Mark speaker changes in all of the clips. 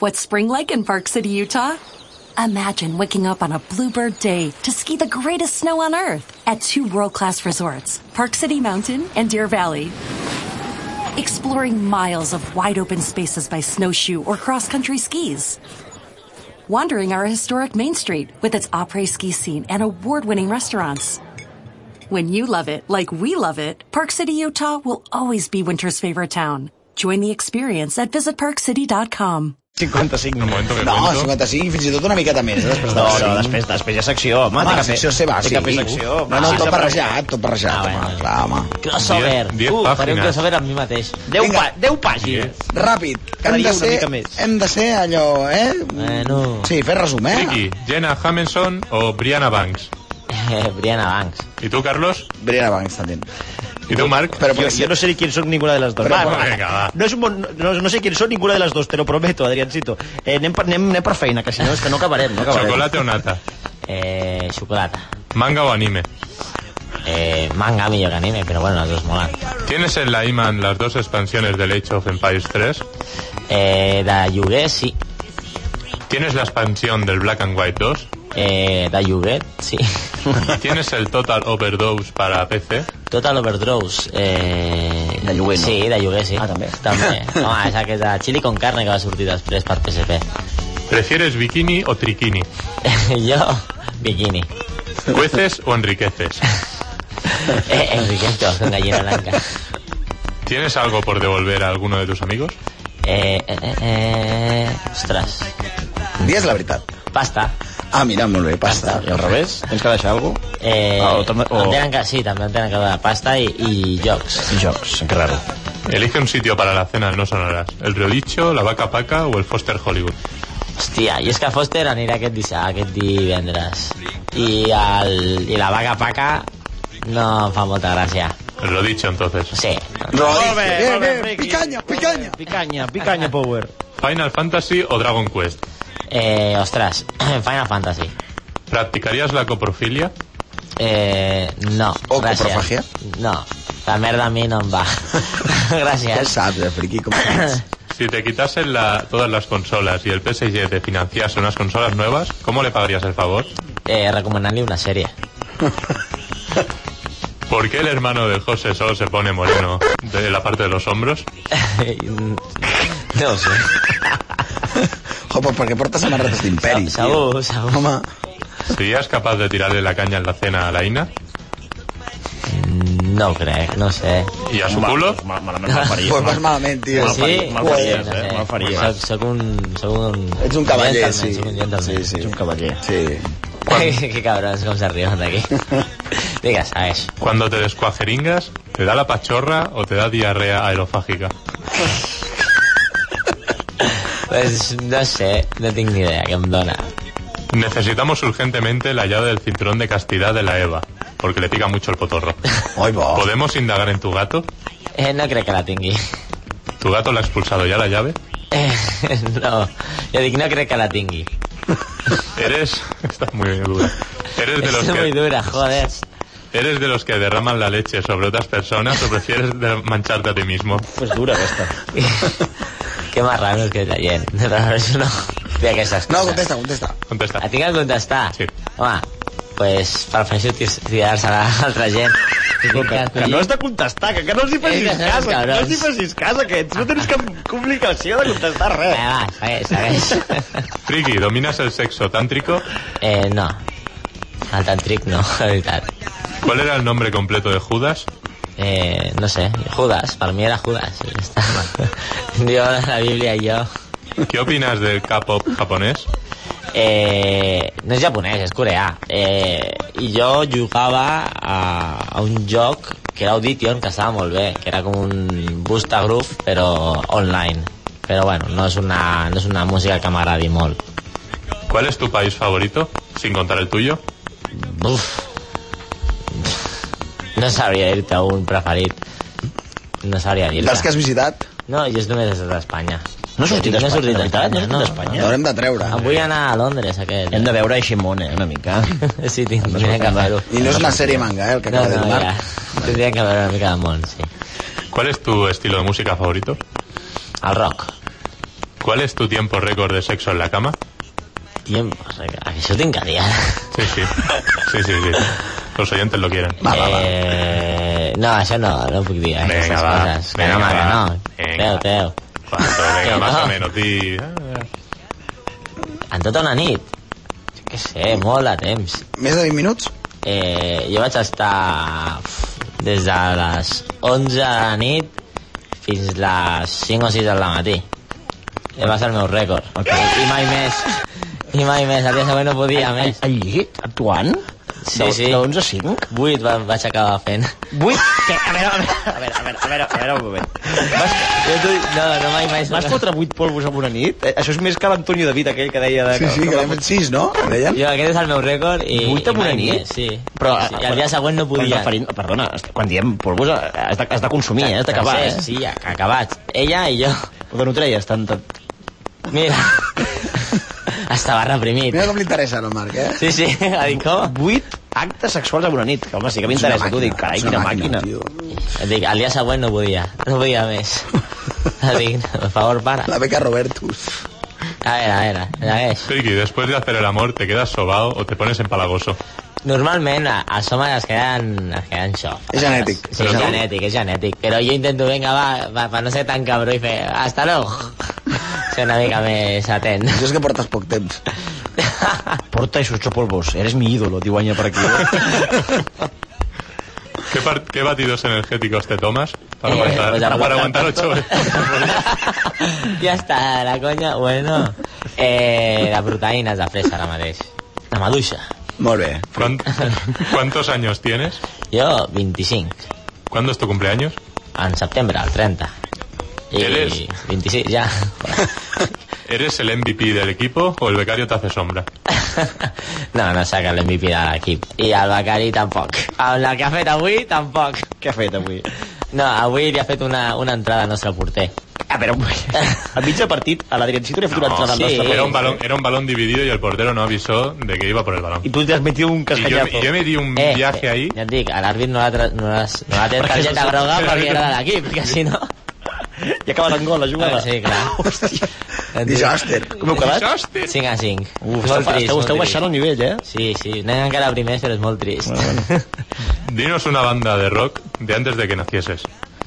Speaker 1: What's spring like in Park City, Utah? Imagine waking up on a bluebird day to ski the greatest snow on earth at two world-class resorts, Park City Mountain and Deer Valley. Exploring miles of wide open spaces by snowshoe or cross-country skis. Wandering our historic Main Street with its après ski scene and award-winning restaurants. When you love it like we love it, Park City, Utah will always be winter's favorite town. Join the experience at visitparkcity.com.
Speaker 2: 55
Speaker 3: Un moment,
Speaker 2: minuts.
Speaker 3: que
Speaker 4: No,
Speaker 3: cuento.
Speaker 4: 55 i fins i tot una miqueta més. eh, Després de
Speaker 2: No,
Speaker 4: les
Speaker 2: no,
Speaker 4: cinc.
Speaker 2: després, després hi ha secció, home.
Speaker 4: Home,
Speaker 2: té
Speaker 4: la
Speaker 2: que fer-
Speaker 4: secció seva,
Speaker 2: té
Speaker 4: sí.
Speaker 2: que fer secció.
Speaker 4: No, no,
Speaker 2: home,
Speaker 4: tot
Speaker 2: sempre-
Speaker 4: barrejat, tot barrejat,
Speaker 2: Ah,
Speaker 4: home,
Speaker 2: bueno.
Speaker 4: clar, home.
Speaker 5: Crossover.
Speaker 3: Diez- diez
Speaker 5: Uh, faré un
Speaker 3: pàgines.
Speaker 5: crossover amb mi mateix.
Speaker 2: Deu,
Speaker 4: Vinga.
Speaker 2: pa, deu pàgines.
Speaker 4: Ràpid,
Speaker 5: Cada
Speaker 4: hem de
Speaker 5: dia una
Speaker 4: ser,
Speaker 5: mica més.
Speaker 4: hem de ser allò, eh?
Speaker 5: Bueno.
Speaker 4: Sí, fer resum, eh?
Speaker 3: Ricky, Jenna Hamenson o Brianna Banks.
Speaker 5: Eh, Brianna Banks.
Speaker 3: I tu, Carlos?
Speaker 4: Brian Banks, també.
Speaker 3: I tu, Marc?
Speaker 4: Però,
Speaker 2: Yo,
Speaker 4: però,
Speaker 2: yo no sé ni quién son ninguna de las dos.
Speaker 4: Però,
Speaker 2: Va,
Speaker 4: bueno,
Speaker 2: va.
Speaker 3: venga, va.
Speaker 2: No, es un bon- no, no sé quién son ninguna de las dos, te lo prometo, Adriancito. Eh, anem, per, anem, anem per feina, que si no, és que no acabarem. No acabarem.
Speaker 3: Xocolate o nata?
Speaker 5: Eh, xocolata.
Speaker 3: Manga o anime?
Speaker 5: Eh, manga millor que anime, però bueno, les dues molen.
Speaker 3: ¿Tienes en la IMAN las dos expansiones del Age of Empires 3?
Speaker 5: Eh, de lloguer, sí.
Speaker 3: ¿Tienes la expansión del Black and White 2?
Speaker 5: Eh, de lloguer, sí.
Speaker 3: ¿Y tienes el Total Overdose para PC?
Speaker 5: Total Overdose. Eh...
Speaker 4: De lloguer, no?
Speaker 5: Sí, de lloguer, sí.
Speaker 4: Ah, també.
Speaker 5: També. Home, és aquest de Chili con carne que va sortir després per PSP.
Speaker 3: ¿Prefieres bikini o triquini?
Speaker 5: jo, bikini.
Speaker 3: ¿Cueces o enriqueces?
Speaker 5: Eh, Enriqueto, con gallina blanca.
Speaker 3: ¿Tienes algo por devolver a alguno de tus amigos?
Speaker 5: Eh, eh, eh, eh... Ostres.
Speaker 4: dies la veritat.
Speaker 5: Pasta.
Speaker 4: Ah, mira, molt bé, pasta.
Speaker 2: I al revés, tens que deixar alguna cosa?
Speaker 5: Eh,
Speaker 2: Ah, o també- o-
Speaker 5: em tenen que, sí, també em tenen que donar pasta i, i jocs.
Speaker 2: Jocs, que raro.
Speaker 3: Elige un sitio para la cena no sonoras. ¿El Riodicho, la Vaca Paca o el Foster Hollywood?
Speaker 5: Hòstia, i és que Foster anirà aquest, dissabte, aquest divendres. I, el, I la vaca paca no em fa molta gràcia.
Speaker 3: Lo dicho entonces.
Speaker 5: Sí.
Speaker 2: Molt bé,
Speaker 4: Bien,
Speaker 2: molt bé,
Speaker 4: bien,
Speaker 2: Ricky.
Speaker 4: picanya, picanya.
Speaker 2: Picanya, picanya power.
Speaker 3: ¿Final Fantasy o Dragon Quest?
Speaker 5: Eh, ostres, Final Fantasy.
Speaker 3: ¿Practicarías la coprofilia?
Speaker 5: Eh, no,
Speaker 4: O
Speaker 5: gràcies.
Speaker 4: coprofàgia?
Speaker 5: No, la merda a mi no em va.
Speaker 4: Ja el
Speaker 5: gràcies.
Speaker 4: saps, eh, friqui, com ets.
Speaker 3: Si te quitasen la- todas las consolas y el PSG te financiase unas consolas nuevas, ¿cómo le pagarías el favor?
Speaker 5: Eh, recomanant-li una sèrie.
Speaker 3: ¿Por qué el hermano de José solo se pone moreno de la parte de los hombros?
Speaker 5: no ho sé.
Speaker 4: Jo, però perquè porta samarretes d'imperi.
Speaker 5: Segur, segur.
Speaker 4: Home,
Speaker 3: ¿Serías capaz de tirarle la caña en la cena a la Ina?
Speaker 5: No ho crec, no ho sé.
Speaker 3: ¿Y a su culo?
Speaker 2: Mal, malament me'n faries.
Speaker 4: pues vas malament, tio.
Speaker 2: Mal faries, mal faries,
Speaker 5: no
Speaker 2: eh,
Speaker 5: sé.
Speaker 2: mal faries.
Speaker 5: Soc, soc un... Soc un
Speaker 4: Ets un cavaller,
Speaker 5: gentleman,
Speaker 4: sí.
Speaker 5: Soc un gentleman.
Speaker 4: Sí, sí.
Speaker 2: un cavaller.
Speaker 4: Sí.
Speaker 5: que cabrons, com se riuen d'aquí. Digues, segueix.
Speaker 3: Cuando te descuajeringas, ¿te da la pachorra o te da diarrea aerofágica?
Speaker 5: Pues no sé, no tinc ni idea què em dona.
Speaker 3: Necesitamos urgentemente la llave del cinturón de castidad de la Eva, porque le pica mucho el potorro.
Speaker 4: Oi, bo.
Speaker 3: ¿Podemos indagar en tu gato?
Speaker 5: Eh, no crec que la tingui.
Speaker 3: ¿Tu gato la ha expulsado ya la llave?
Speaker 5: Eh, no, jo dic no crec que la tingui.
Speaker 3: Eres... Está muy dura. Eres de los
Speaker 5: És muy
Speaker 3: que...
Speaker 5: dura, joder.
Speaker 3: ¿Eres de los que derraman la leche sobre otras personas o prefieres de- mancharte a ti mismo?
Speaker 2: Pues dura aquesta.
Speaker 5: que marranos que és la gent. No, no, això no. Té aquestes
Speaker 4: No,
Speaker 5: coses.
Speaker 4: contesta, contesta.
Speaker 3: Contesta.
Speaker 5: Et tinc que contestar?
Speaker 3: Sí.
Speaker 5: Home, pues per fer tirar-se a l'altra gent.
Speaker 2: Que, que no has de contestar, que, que no els hi facis
Speaker 5: Eh, que no,
Speaker 2: cas, que no
Speaker 5: cabrons.
Speaker 2: els hi facis cas, aquests. No tens cap complicació de contestar
Speaker 5: Eh,
Speaker 2: res.
Speaker 5: va, segueix, segueix.
Speaker 3: Friki, ¿dominas el sexo tántrico?
Speaker 5: Eh, no. El tantric no, la veritat.
Speaker 3: ¿Cuál era el nombre completo de Judas?
Speaker 5: Eh, no sé, Judas, per mi era Judas. i ja està. Jo, la Bíblia i jo...
Speaker 3: ¿Qué opinas del K-pop japonés?
Speaker 5: Eh, no és japonès, és coreà. Eh, I jo jugava a, a un joc que era Audition, que estava molt bé, que era com un Busta Groove, però online. Però bueno, no és una, no és una música que m'agradi molt.
Speaker 3: ¿Cuál es tu país favorito? Sin contar el tuyo.
Speaker 5: Buf. No sabria dir-te un preferit. No sabria dir-te.
Speaker 4: Dels que has visitat,
Speaker 5: No, jo és només he estat a Espanya.
Speaker 2: No has sortit
Speaker 5: No he
Speaker 2: d'Espanya,
Speaker 5: sortit
Speaker 2: de veritat? No has
Speaker 5: d'Espanya,
Speaker 2: sortit d'Espanya?
Speaker 4: l'haurem de treure.
Speaker 5: Em vull anar a Londres, aquest.
Speaker 2: Hem de veure Aiximón, eh, una mica.
Speaker 5: Sí, tindria que fer-ho.
Speaker 4: I no és una sèrie manga, eh, el que
Speaker 5: No,
Speaker 4: acaba de
Speaker 5: no,
Speaker 4: dir
Speaker 5: ja.
Speaker 4: Marc.
Speaker 5: Tindria que veure una mica de món, sí.
Speaker 3: ¿Cuál es tu estilo de música favorito?
Speaker 5: El rock.
Speaker 3: ¿Cuál es tu tiempo récord de sexo en la cama?
Speaker 5: Tiempos, eh, això tinc que dir. ara.
Speaker 3: Sí, sí. Sí, sí, sí. Los oyentes lo quieren.
Speaker 4: Ah, Va, va, va.
Speaker 5: Eh, no, això no, no puc dir aquestes
Speaker 3: Vinga, va.
Speaker 5: coses. Que
Speaker 3: Vinga,
Speaker 5: no, mare,
Speaker 3: va.
Speaker 5: no.
Speaker 3: Vinga.
Speaker 5: Teo, teo.
Speaker 3: Cuánto, venga,
Speaker 5: Que
Speaker 3: más
Speaker 5: no.
Speaker 3: o menos. di- ah.
Speaker 5: En tota una nit, jo què sé, molt de temps.
Speaker 4: Més de 20 minuts?
Speaker 5: Eh, jo vaig estar uf, des de les 11 de la nit fins les 5 o 6 del matí. Eh, va ser el meu rècord. I mai més. I mai més. El dia següent no podia més.
Speaker 2: Al Eh, llit, actuant?
Speaker 5: Sí,
Speaker 2: de,
Speaker 5: sí.
Speaker 2: De 11 a 5?
Speaker 5: 8 va, vaig acabar fent.
Speaker 2: Vull... Que, a veure, a veure, a veure, a veure, a veure, un moment. Vas,
Speaker 5: Jo t'ho dic, no, no mai més.
Speaker 2: vas fotre 8 polvos en una nit? Eh, Això és més que l'Antonio David, aquell que deia... De,
Speaker 4: Sí, sí, que l'hem fet 6, no? Deien?
Speaker 5: Jo, aquest és el meu rècord i...
Speaker 2: Vuit en
Speaker 5: i
Speaker 2: una
Speaker 5: mai
Speaker 2: nit?
Speaker 5: més, Sí.
Speaker 2: Però,
Speaker 5: sí, el dia següent no
Speaker 2: Però
Speaker 5: podia.
Speaker 2: referint, perdona, és que quan diem polvos eh, has de, has de consumir, eh, has d'acabar,
Speaker 5: Sí,
Speaker 2: eh?
Speaker 5: Sí, ac- acabat. Ella i jo.
Speaker 2: Perquè no treies tant... tant...
Speaker 5: Mira. Estava reprimit.
Speaker 4: Mira com li interessa al Marc, eh?
Speaker 5: Sí, sí, ha dit com?
Speaker 2: 8 actes sexuals en una nit, que home, sí que
Speaker 4: És una
Speaker 2: m'interessa, tu
Speaker 4: màquina,
Speaker 2: dic, carai,
Speaker 4: és una
Speaker 2: quina màquina.
Speaker 4: tio.
Speaker 5: Et dic, el dia següent no podia. No podia més. Et dic, per favor, para.
Speaker 4: La beca Robertus.
Speaker 5: A veure, a veure, segueix.
Speaker 3: Ricky, después de hacer el amor, ¿te quedas sobao o te pones empalagoso?
Speaker 5: Normalment, a- els homes es queden, es queden això.
Speaker 4: És genètic.
Speaker 5: Sí,
Speaker 3: Però
Speaker 5: és
Speaker 3: tu-
Speaker 5: genètic, és genètic. Però jo intento, vinga, va, va, per no ser tan cabró i fer... Hasta luego. Ser una mica més atent.
Speaker 4: Jo és que portes poc temps.
Speaker 2: Porta esos polvos, eres mi ídolo, diu Anya per aquí.
Speaker 3: ¿Qué, par- qué batidos energéticos te tomas para
Speaker 5: Eh,
Speaker 3: aguantar,
Speaker 5: pues ya no
Speaker 3: para aguantar
Speaker 5: aguantan
Speaker 3: ocho horas?
Speaker 5: ja està, la conya... Bueno, eh, la proteïna és de fresa ara mateix. La maduixa.
Speaker 4: Molt bé.
Speaker 3: ¿Cuán- ¿Cuántos años tienes?
Speaker 5: Jo, 25.
Speaker 3: ¿Cuándo es tu cumpleaños?
Speaker 5: En setembre, el 30. I
Speaker 3: Eres?
Speaker 5: 26, ja.
Speaker 3: ¿Eres el MVP del equipo o el becario te hace sombra?
Speaker 5: No, no saca l'MVP de l'equip. I el Becari tampoc. Amb la que ha fet avui, tampoc.
Speaker 2: Què ha fet avui?
Speaker 5: No, avui li ha fet una, una entrada al nostre porter.
Speaker 2: A veure, un moment. a mig de partit, a este l'Adriancito li ha fet una entrada al
Speaker 5: sí.
Speaker 2: nostre
Speaker 3: era, un
Speaker 2: porter.
Speaker 3: balón, era un balón dividido y el portero no avisó de que iba por el balón.
Speaker 2: I tu t'has metido
Speaker 3: Y
Speaker 2: un
Speaker 3: yo,
Speaker 2: cascallazo.
Speaker 3: y yo me di un viaje ahí.
Speaker 5: Eh, Ja et dic, a l'àrbit no la, tra- no la, no la té
Speaker 2: Perquè
Speaker 5: targeta
Speaker 2: no-
Speaker 5: groga
Speaker 2: perquè
Speaker 5: perquè
Speaker 2: no-
Speaker 5: era de l'equip, que si no...
Speaker 2: I acaba en gol, la jugada.
Speaker 5: Ah, sí, clar.
Speaker 2: Hòstia.
Speaker 5: Et dic,
Speaker 4: Disaster.
Speaker 2: Com heu quedat?
Speaker 3: ¡Hostia!
Speaker 5: 5 a 5.
Speaker 2: Uf, esteu, esteu, esteu baixant el nivell, eh?
Speaker 5: Sí, sí, anem encara primers, però és molt trist.
Speaker 3: Dinos una banda de rock de antes de que nacieses.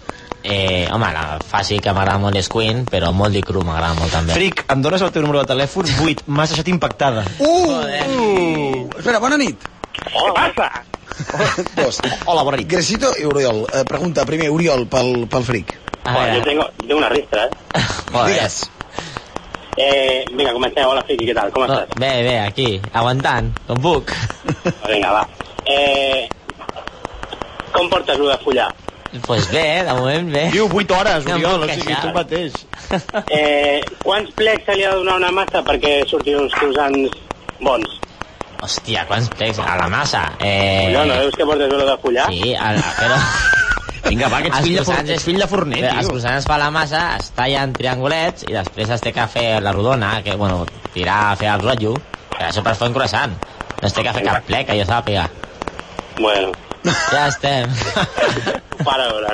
Speaker 5: eh, home, la fàcil que m'agrada molt és Queen, però Molly Crew m'agrada molt també.
Speaker 2: Fric, em dones el teu número de telèfon? 8, m'has deixat impactada.
Speaker 4: Uh! Espera, bona nit.
Speaker 6: Què passa?
Speaker 4: Dos.
Speaker 2: Hola, bona nit.
Speaker 4: Gresito i Oriol. Eh, pregunta primer, Oriol, pel, pel fric.
Speaker 5: A
Speaker 6: Joder,
Speaker 5: veure,
Speaker 6: yo tengo, yo tengo una ristra, ¿eh?
Speaker 5: joder.
Speaker 4: Digues.
Speaker 6: Eh, venga, comencemos. Hola, Friki, ¿qué tal? ¿Cómo
Speaker 5: No,
Speaker 6: estás? Ah,
Speaker 5: bé, bé, aquí, aguantant, com puc.
Speaker 6: Venga, va. Eh, com portes lo de follar?
Speaker 5: Doncs pues bé, de moment bé.
Speaker 2: Diu 8 hores,
Speaker 5: No em
Speaker 2: Oriol, o
Speaker 5: puc
Speaker 2: sigui,
Speaker 5: queixar.
Speaker 2: tu mateix.
Speaker 6: Eh, quants plecs se li ha de donar a una massa perquè surti uns croissants bons?
Speaker 5: Hòstia, quants plecs, a la massa. Eh,
Speaker 6: No, no veus que portes lo de follar?
Speaker 5: Sí, a la, però...
Speaker 2: Vinga, va, que ets
Speaker 5: Els
Speaker 2: fill de forner,
Speaker 5: croissants-
Speaker 2: ets fill de forner,
Speaker 5: Bé, Els
Speaker 2: tio.
Speaker 5: croissants per la massa es tallen triangulets i després es té que fer la rodona, que, bueno, tirar, fer el rotllo, però això per fer un croissant. No es té que fer cap plec, que jo sàpiga.
Speaker 6: Bueno,
Speaker 5: Ja estem.
Speaker 6: para veure.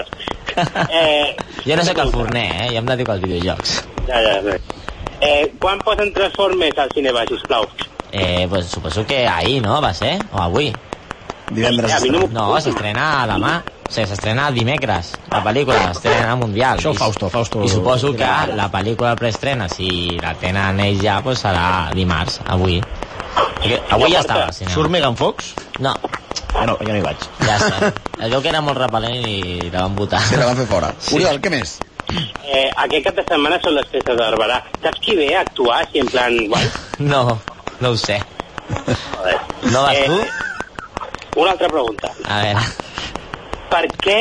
Speaker 6: Eh,
Speaker 5: jo no sóc el forner, eh? Jo em dedico als videojocs.
Speaker 6: Ja, ja, bé. Eh, quan posen Transformers al cinema, sisplau?
Speaker 5: Eh, pues suposo que ahir, no?, va ser? O avui.
Speaker 4: Divendres.
Speaker 6: A mi no m'ho-
Speaker 5: No, s'estrena demà. O sigui, s'estrena dimecres, la pel·lícula, estrena mundial.
Speaker 2: Això
Speaker 5: I-
Speaker 2: Fausto, Fausto.
Speaker 5: I suposo que la pel·lícula preestrena, si la tenen ells ja, pues serà dimarts, avui. Perquè Avui ja estava al
Speaker 2: Surt
Speaker 5: cinema.
Speaker 2: Megan Fox?
Speaker 5: No,
Speaker 2: Ja no, ja no hi vaig.
Speaker 5: ja està. Es veu que era molt repel·lent i la van votar.
Speaker 4: Se la van fer fora. Oriol, què més?
Speaker 6: Eh, aquest cap de setmana són les festes de Barberà. Saps qui ve a actuar així en plan... Guai?
Speaker 5: No, no ho sé.
Speaker 6: Joder. Eh,
Speaker 5: No vas tu?
Speaker 2: Eh.
Speaker 6: Una altra pregunta.
Speaker 5: A veure,
Speaker 6: Per què,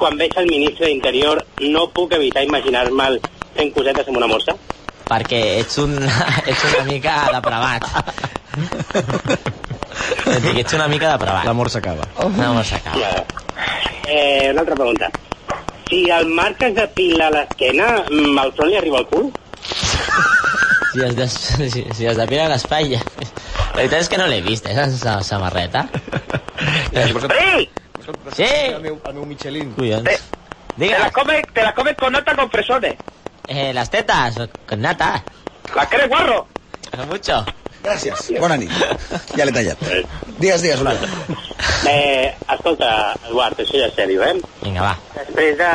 Speaker 6: quan veig el ministre d'Interior, no puc evitar imaginar-me'l fent cosetes amb una morsa?
Speaker 5: perquè ets, un, ets una mica depravat. Et dic, ets una mica depravat.
Speaker 2: L'amor s'acaba.
Speaker 5: No m'ho s'acaba.
Speaker 6: Eh, una altra pregunta. Si el Marc es depila l'esquena, mm, el front li arriba al cul?
Speaker 5: Si es, des, si, si es depila l'espatlla. La veritat és que no l'he vist, eh, la samarreta. Eh,
Speaker 6: ¡Ey!
Speaker 5: Sí!
Speaker 2: meu, el meu Michelin.
Speaker 5: Collons. Digues.
Speaker 6: comes, te la comes con nata con fresones.
Speaker 5: Eh, las tetas, con nata.
Speaker 6: ¿La crees, guarro?
Speaker 5: Mucho.
Speaker 4: Gràcies. Bona nit. Ja l'he tallat. Digues, digues, Oriol.
Speaker 6: Eh, escolta, Eduard, això ja és sèrio, eh?
Speaker 5: Vinga, va.
Speaker 6: Després de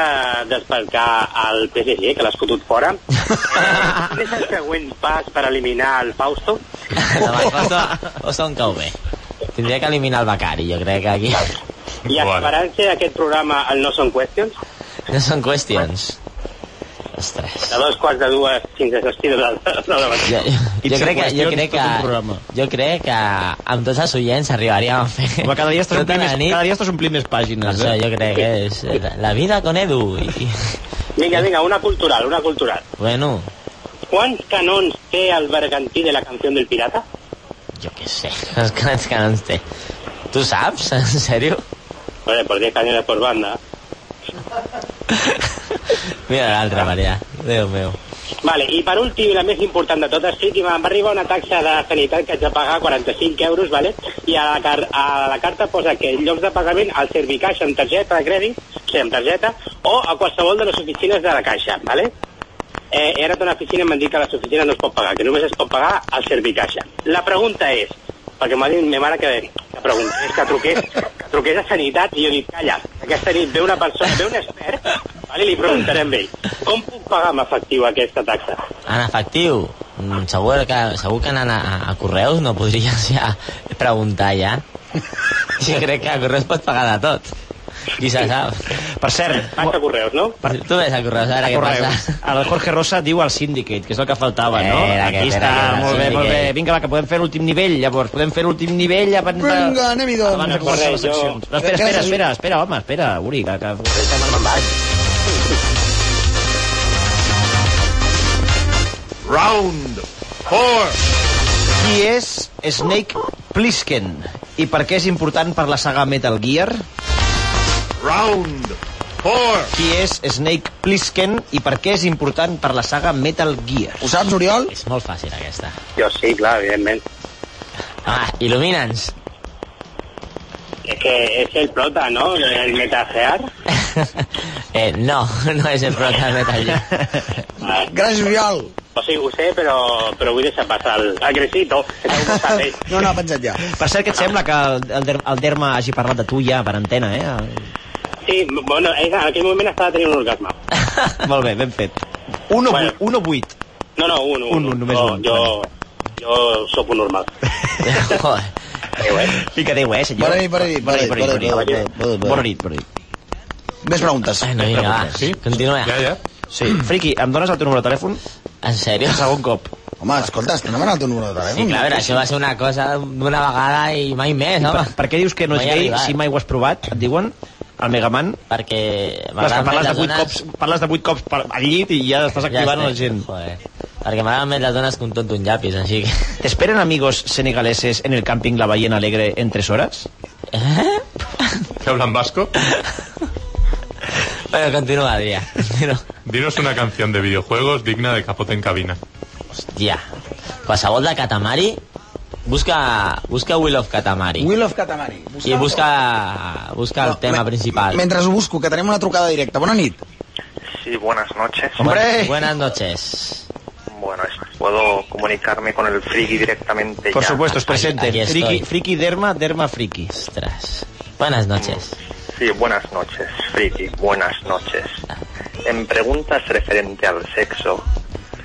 Speaker 6: despercar el PSG, que l'ha escotut fora, eh, quin és el següent pas per eliminar el Fausto?
Speaker 5: No, va, costa, costa un cau bé. Tindria que eliminar el Becari, jo crec que aquí
Speaker 6: I
Speaker 3: Bueno.
Speaker 6: esperant-se d'aquest programa el No Són Questions,
Speaker 5: no són qüestions. Ostres.
Speaker 6: de dos quarts de dues fins a les sis de la de la matina.
Speaker 5: Jo, jo,
Speaker 2: It's
Speaker 5: jo,
Speaker 2: a
Speaker 5: crec que, jo
Speaker 2: question,
Speaker 5: crec
Speaker 2: tot un
Speaker 5: que,
Speaker 2: programa.
Speaker 5: jo crec que amb tots els oients arribaríem a fer
Speaker 2: Home, cada dia estàs
Speaker 5: tota
Speaker 2: omplint
Speaker 5: la
Speaker 2: més,
Speaker 5: nit.
Speaker 2: cada dia estàs omplint més
Speaker 5: Per
Speaker 2: pàgines,
Speaker 5: Doncs això
Speaker 2: eh?
Speaker 5: jo crec que és la- la vida con Edu. I,
Speaker 6: Vinga, vinga, una cultural, una cultural.
Speaker 5: bueno,
Speaker 6: ¿Cuántos canons té el bergantí de la canción del pirata?
Speaker 5: jo què sé, els canons que no ens té. Tu saps, en sèrio?
Speaker 6: Vale, por 10 cañones por banda.
Speaker 5: Mira l'altra,
Speaker 2: Ah.
Speaker 5: Maria. Déu meu.
Speaker 6: Vale, i per últim, i la més important de totes, sí que va arribar una taxa de sanitat que haig de pagar 45 euros, vale? i a la, car a la carta posa que en llocs de pagament al Servicaix amb targeta de crèdit, sí, amb targeta, o a qualsevol de les oficines de la caixa, vale? Eh, he anat a una oficina i m'han dit que a les oficines no es pot pagar, que només es pot pagar al Servicaixa. La pregunta és, perquè m'ha dit ma mare que, que preguntés, que truqués, que truqués a Sanitat, i jo he dit, calla, aquesta nit ve una persona, ve un expert, vale, li preguntarem a ell, com puc pagar amb efectiu aquesta taxa?
Speaker 5: En efectiu, mm, segur que, segur que anant a, a Correus no podries ja preguntar ja. Jo crec que a Correus pots pagar de tot. Qui se sap?
Speaker 2: Per cert,
Speaker 6: Passa correus, no?
Speaker 5: Tu ves a Correus, ara
Speaker 2: a
Speaker 5: què
Speaker 2: correus.
Speaker 5: passa?
Speaker 2: El Jorge Rosa diu al Syndicate, que és el que faltava, no?
Speaker 5: Era
Speaker 2: Aquí
Speaker 5: aquest,
Speaker 2: està,
Speaker 5: era aquest, el
Speaker 2: molt bé, molt
Speaker 5: Syndicate.
Speaker 2: bé. Vinga, va, que podem fer l'últim nivell, llavors. Podem fer l'últim nivell abans de...
Speaker 4: Vinga, anem-hi,
Speaker 2: Abans de
Speaker 4: doncs.
Speaker 2: començar les
Speaker 6: Corre, jo-
Speaker 2: seccions. No, espera, espera, espera, espera, home, espera, Uri, que... que...
Speaker 3: Round 4.
Speaker 2: Qui és Snake Plissken? I per què és important per la saga Metal Gear?
Speaker 3: Round 4.
Speaker 2: Qui és Snake Plissken? I per què és important per la saga Metal Gear?
Speaker 4: Ho saps, Oriol?
Speaker 5: És molt fàcil aquesta.
Speaker 6: Jo sí, clar, evidentment.
Speaker 5: Home, il·lumina'ns.
Speaker 6: És que és el prota, no? El metagear.
Speaker 5: eh, no, no és el prota de Metal Gear.
Speaker 4: Gràcies, Oriol.
Speaker 6: O sigui, Eh, pues ho sé, però, però vull deixar passar el, el gresito. que no ho sap ell.
Speaker 4: No, no, ha penjat ja.
Speaker 2: Per cert, que et sembla que el, el, Der- el Derma hagi parlat de tu ja per antena, eh?
Speaker 6: Sí, bueno, ell en aquell moment estava tenint un orgasme.
Speaker 2: Molt bé, ben fet. 1
Speaker 6: Bueno.
Speaker 2: 1-8.
Speaker 6: No, no, un, un.
Speaker 2: Un, un, només
Speaker 6: jo,
Speaker 2: un.
Speaker 6: Jo, jo sóc un normal.
Speaker 5: Joder.
Speaker 2: I que Déu, eh, senyor?
Speaker 4: Bona nit, bona nit, bona nit, bona nit, bona nit, bona nit.
Speaker 2: Bona nit, bona nit.
Speaker 4: Més preguntes.
Speaker 5: Bueno, vinga, va.
Speaker 3: Sí?
Speaker 5: Continua.
Speaker 3: Ja, ja.
Speaker 2: Sí. Friki, em dones el teu número de telèfon?
Speaker 5: En sèrio?
Speaker 2: Segon cop.
Speaker 4: Home, escolta, estem demanant el teu número de
Speaker 5: Sí,
Speaker 4: telèfon.
Speaker 5: clar, a veure, això va ser una cosa d'una vegada i mai més, home.
Speaker 2: Per, per què dius que no és
Speaker 5: Mai
Speaker 2: gay
Speaker 5: arribat.
Speaker 2: si mai ho has provat? Et diuen el Megaman?
Speaker 5: Perquè...
Speaker 2: Clar, és que
Speaker 5: m'agraden
Speaker 2: parles
Speaker 5: més
Speaker 2: de
Speaker 5: les
Speaker 2: 8
Speaker 5: dones-
Speaker 2: cops, parles de 8 cops per, al llit i ja estàs activant
Speaker 5: estic,
Speaker 2: la gent.
Speaker 5: Joder. Perquè m'agraden més les dones que un tonto un llapis, així que...
Speaker 2: ¿Esperan amigos senegaleses en el camping La Ballena Alegre en tres horas?
Speaker 5: Eh?
Speaker 3: ¿Qué hablan vasco?
Speaker 5: Bueno, continua, Adrià. Continua.
Speaker 3: Dinos una canción de videojuegos digna de capote en cabina.
Speaker 5: Hòstia. Qualsevol de Katamari, busca, busca Will of Katamari.
Speaker 4: Will of Katamari.
Speaker 5: I busca, busca el tema principal.
Speaker 4: Mentre ho busco, que tenim una trucada directa. Bona nit.
Speaker 7: Sí, buenas noches.
Speaker 5: Buenas, buenas noches.
Speaker 7: Bueno, es- puedo comunicarme con el friki directamente
Speaker 2: Por
Speaker 7: ya.
Speaker 2: supuesto, es
Speaker 5: aquí-
Speaker 2: presente.
Speaker 5: aquí estoy.
Speaker 2: Friki, friki derma, derma friki.
Speaker 5: Ostras. Buenas noches.
Speaker 7: Sí, buenas noches, friki. Buenas noches. En preguntas referente al sexo,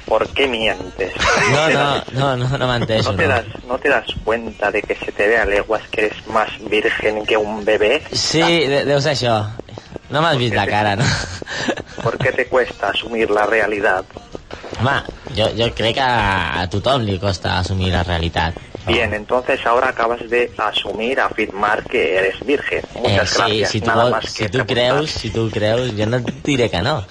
Speaker 7: ¿por qué mientes?
Speaker 5: No,
Speaker 7: te
Speaker 5: no,
Speaker 7: das-
Speaker 5: no, no, no m'entens.
Speaker 7: ¿No te, das, ¿No te das cuenta de que se te ve a leguas que eres más virgen que un bebé?
Speaker 5: Sí, de, deu ser això. No m'has vist la cara, no?
Speaker 7: ¿Por qué te cuesta asumir la realidad?
Speaker 5: Home, jo, jo crec que a tothom li costa assumir la realitat. Eh,
Speaker 7: Bien,
Speaker 5: Ah.
Speaker 7: entonces ahora acabas de asumir, afirmar que eres virgen. Muchas
Speaker 5: Eh, sí,
Speaker 7: gracias.
Speaker 5: si tu,
Speaker 7: Nada
Speaker 5: vols-
Speaker 7: más que
Speaker 5: si tu
Speaker 7: preguntar.
Speaker 5: creus, si tu creus, jo no et diré que no.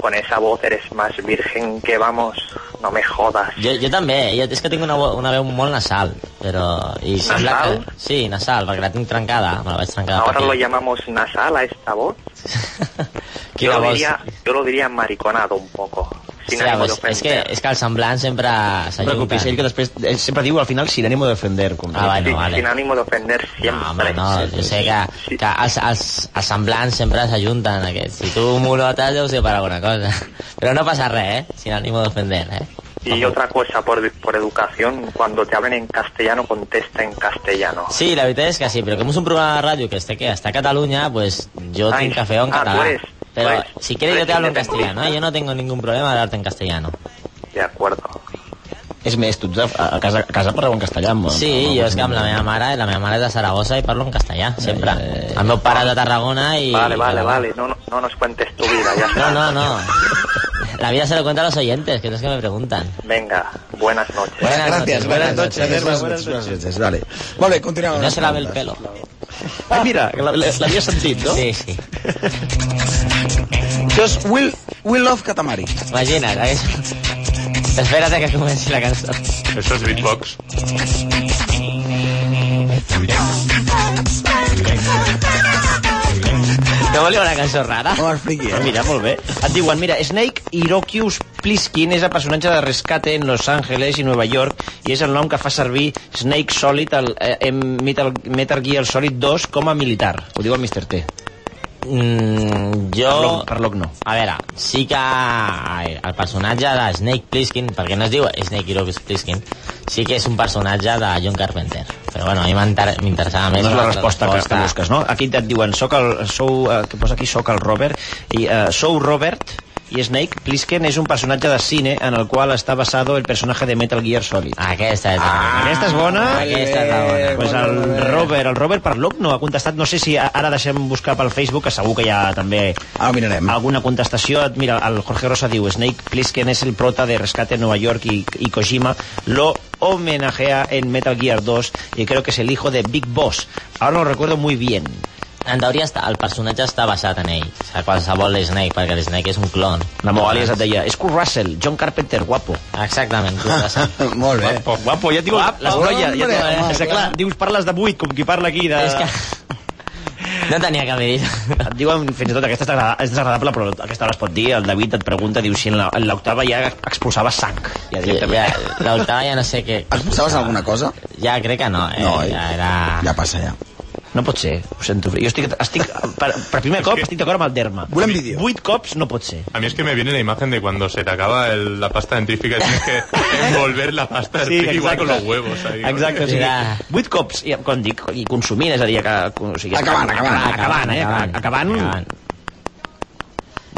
Speaker 7: Con esa voz eres más virgen que vamos, no me jodas.
Speaker 5: Jo, jo també, eh, jo, és que tinc una, vo- una veu molt nasal, però... I sembla
Speaker 7: Nasal?
Speaker 5: Que, sí, nasal, perquè la tinc trencada, me la vaig trencar.
Speaker 7: Ahora lo llamamos nasal a esta voz.
Speaker 5: llamo...
Speaker 7: Yo
Speaker 5: Quina
Speaker 7: lo,
Speaker 5: voz?
Speaker 7: diría, yo lo diría mariconado un poco. sin
Speaker 5: Hòstia,
Speaker 7: ànimo
Speaker 5: pues, és, que,
Speaker 7: d'ofendre.
Speaker 5: és que el semblant sempre
Speaker 2: Sempre
Speaker 5: s'ajunta.
Speaker 2: copis ell que després ell sempre diu al final sin ànimo de ofender. Com
Speaker 5: Ah, vale,
Speaker 7: Sí,
Speaker 5: vale.
Speaker 7: Sin ánimo de ofender siempre.
Speaker 5: No, home, no, jo sé que, que els, els, els semblants sempre s'ajunten aquests. Si tu mulotes deu ser per alguna cosa. Pero no pasa res, eh? Sin ánimo de ofender, eh?
Speaker 7: Y otra cosa, por, por educación, cuando te hablen en castellano, contesta en castellano.
Speaker 5: Sí, la veritat és que sí, però com és un programa de ràdio que este que està a Catalunya, pues yo
Speaker 7: Ai,
Speaker 5: tengo que feo en
Speaker 7: ah, pues,
Speaker 5: català.
Speaker 7: tu eres-
Speaker 5: Pero
Speaker 7: tu eres-
Speaker 5: si
Speaker 7: tu
Speaker 5: quieres yo
Speaker 7: eres
Speaker 5: te hablo en
Speaker 7: independentista.
Speaker 5: castellano, ¿eh? yo no tengo ningún problema de hablarte en castellano.
Speaker 7: De acuerdo.
Speaker 2: És més, tu ets a, a casa, a casa parleu en castellà. Amb,
Speaker 5: Sí, jo és que amb la meva mare, la meva mare és de Saragossa i parlo en castellà, sempre.
Speaker 2: eh.
Speaker 5: El meu pare és de Tarragona i...
Speaker 7: Vale, vale, vale. No, no, no nos cuentes tu vida, ya
Speaker 5: No,
Speaker 7: está.
Speaker 5: no, no. La vida se lo cuenta a los oyentes, que no es que me preguntan.
Speaker 7: Venga, buenas noches.
Speaker 5: Buenas
Speaker 4: Gràcies,
Speaker 5: noches,
Speaker 4: buenas
Speaker 5: buenas
Speaker 4: noches.
Speaker 5: noches.
Speaker 4: Buenas noches. Buenas noches. Dale. Molt bé, continuem. amb
Speaker 5: No
Speaker 4: les
Speaker 5: se lave el
Speaker 4: preguntes.
Speaker 5: pelo.
Speaker 2: Ah, mira, la- la- l'havia sentit, no?
Speaker 5: Sí, sí.
Speaker 4: Això és Will, Will Love Catamari.
Speaker 5: Imagina't, hagués... ¿eh? Espérate que comenci la cançó.
Speaker 3: Eso es beatbox.
Speaker 5: No volia una cançó rara?
Speaker 4: Home, el friqui,
Speaker 2: Ah,
Speaker 4: eh?
Speaker 2: Mira, molt bé. Et diuen, mira, Snake Hirokius Plissken és el personatge de rescate en Los Angeles i Nova York i és el nom que fa servir Snake Solid al, eh, en Metal, Metal Gear Solid 2 com a militar. Ho diu el Mr. T.
Speaker 5: Mm, jo...
Speaker 2: Parloc- Parloc no.
Speaker 5: A veure, sí que el personatge de Snake Plissken, perquè no es diu Snake Hiroki Plissken, sí que és un personatge de John Carpenter. Però bueno, a mi m'inter- m'interessava més...
Speaker 2: No és la resposta que, que busques, no? Aquí et diuen, soc el, sou, eh, que posa aquí, soc el Robert, i eh, sou Robert, i Snake Plissken és un personatge de cine en el qual està basado el personatge de Metal Gear Solid.
Speaker 5: Aquesta és la
Speaker 2: Ah, aquesta és bona.
Speaker 5: Aquesta és la bona.
Speaker 2: Ah, Pues
Speaker 4: Molt bé,
Speaker 2: el
Speaker 4: molt bé.
Speaker 2: Robert, el Robert Parloc no ha contestat, no sé si a- ara deixem buscar pel Facebook, que segur que hi ha també
Speaker 4: Ah, ho mirarem.
Speaker 2: alguna contestació. Mira, el Jorge Rosa diu, Snake Plissken és el prota de Rescate en Nueva York i, i Kojima lo homenajea en Metal Gear 2 y creo que es el hijo de Big Boss. Ahora no lo recuerdo muy bien.
Speaker 5: En teoria està, el personatge està basat en ell. O sigui, qualsevol Snake, perquè el Snake és un clon.
Speaker 2: La meva àlies et deia, és Kurt Russell, John Carpenter, guapo.
Speaker 5: Exactament, correcte.
Speaker 4: Molt bé.
Speaker 2: Guapo, guapo ja tinc
Speaker 5: Guapo,
Speaker 2: les brolles. Ja
Speaker 4: hombre,
Speaker 2: tinc,
Speaker 4: home,
Speaker 2: és que clar,
Speaker 5: clar.
Speaker 2: dius, parles de buit, com qui parla aquí de...
Speaker 5: és que... No tenia que haver dit.
Speaker 2: Et diuen, fins i tot, aquesta és desagrada- és desagradable, però aquesta hora es pot dir, el David et pregunta, diu, si en la- en l'octava ja expulsava sang. Ja
Speaker 5: Ja,
Speaker 2: directament.
Speaker 5: L'Octava ja no sé què...
Speaker 4: Expulsaves alguna cosa?
Speaker 5: Ja crec que no, eh?
Speaker 4: No, eh?
Speaker 5: ja era...
Speaker 4: Ja passa, ja.
Speaker 2: No pot ser, ho sento. Jo estic, estic per, per primer cop estic d'acord amb el Derma.
Speaker 4: Volem vídeo.
Speaker 2: Vuit cops no pot ser.
Speaker 3: A mí es que me viene la imagen de cuando se te acaba el- la pasta dentífrica y tienes que envolver la pasta dentífrica igual con los huevos. Ahí, ¿no?
Speaker 2: Exacte, o sigui,
Speaker 5: Ja.
Speaker 2: vuit cops, i, quan dic, i consumint, és a dir, que, o sigui,
Speaker 4: Acabant, acabant.
Speaker 2: acabant, eh? Acabant. acabant,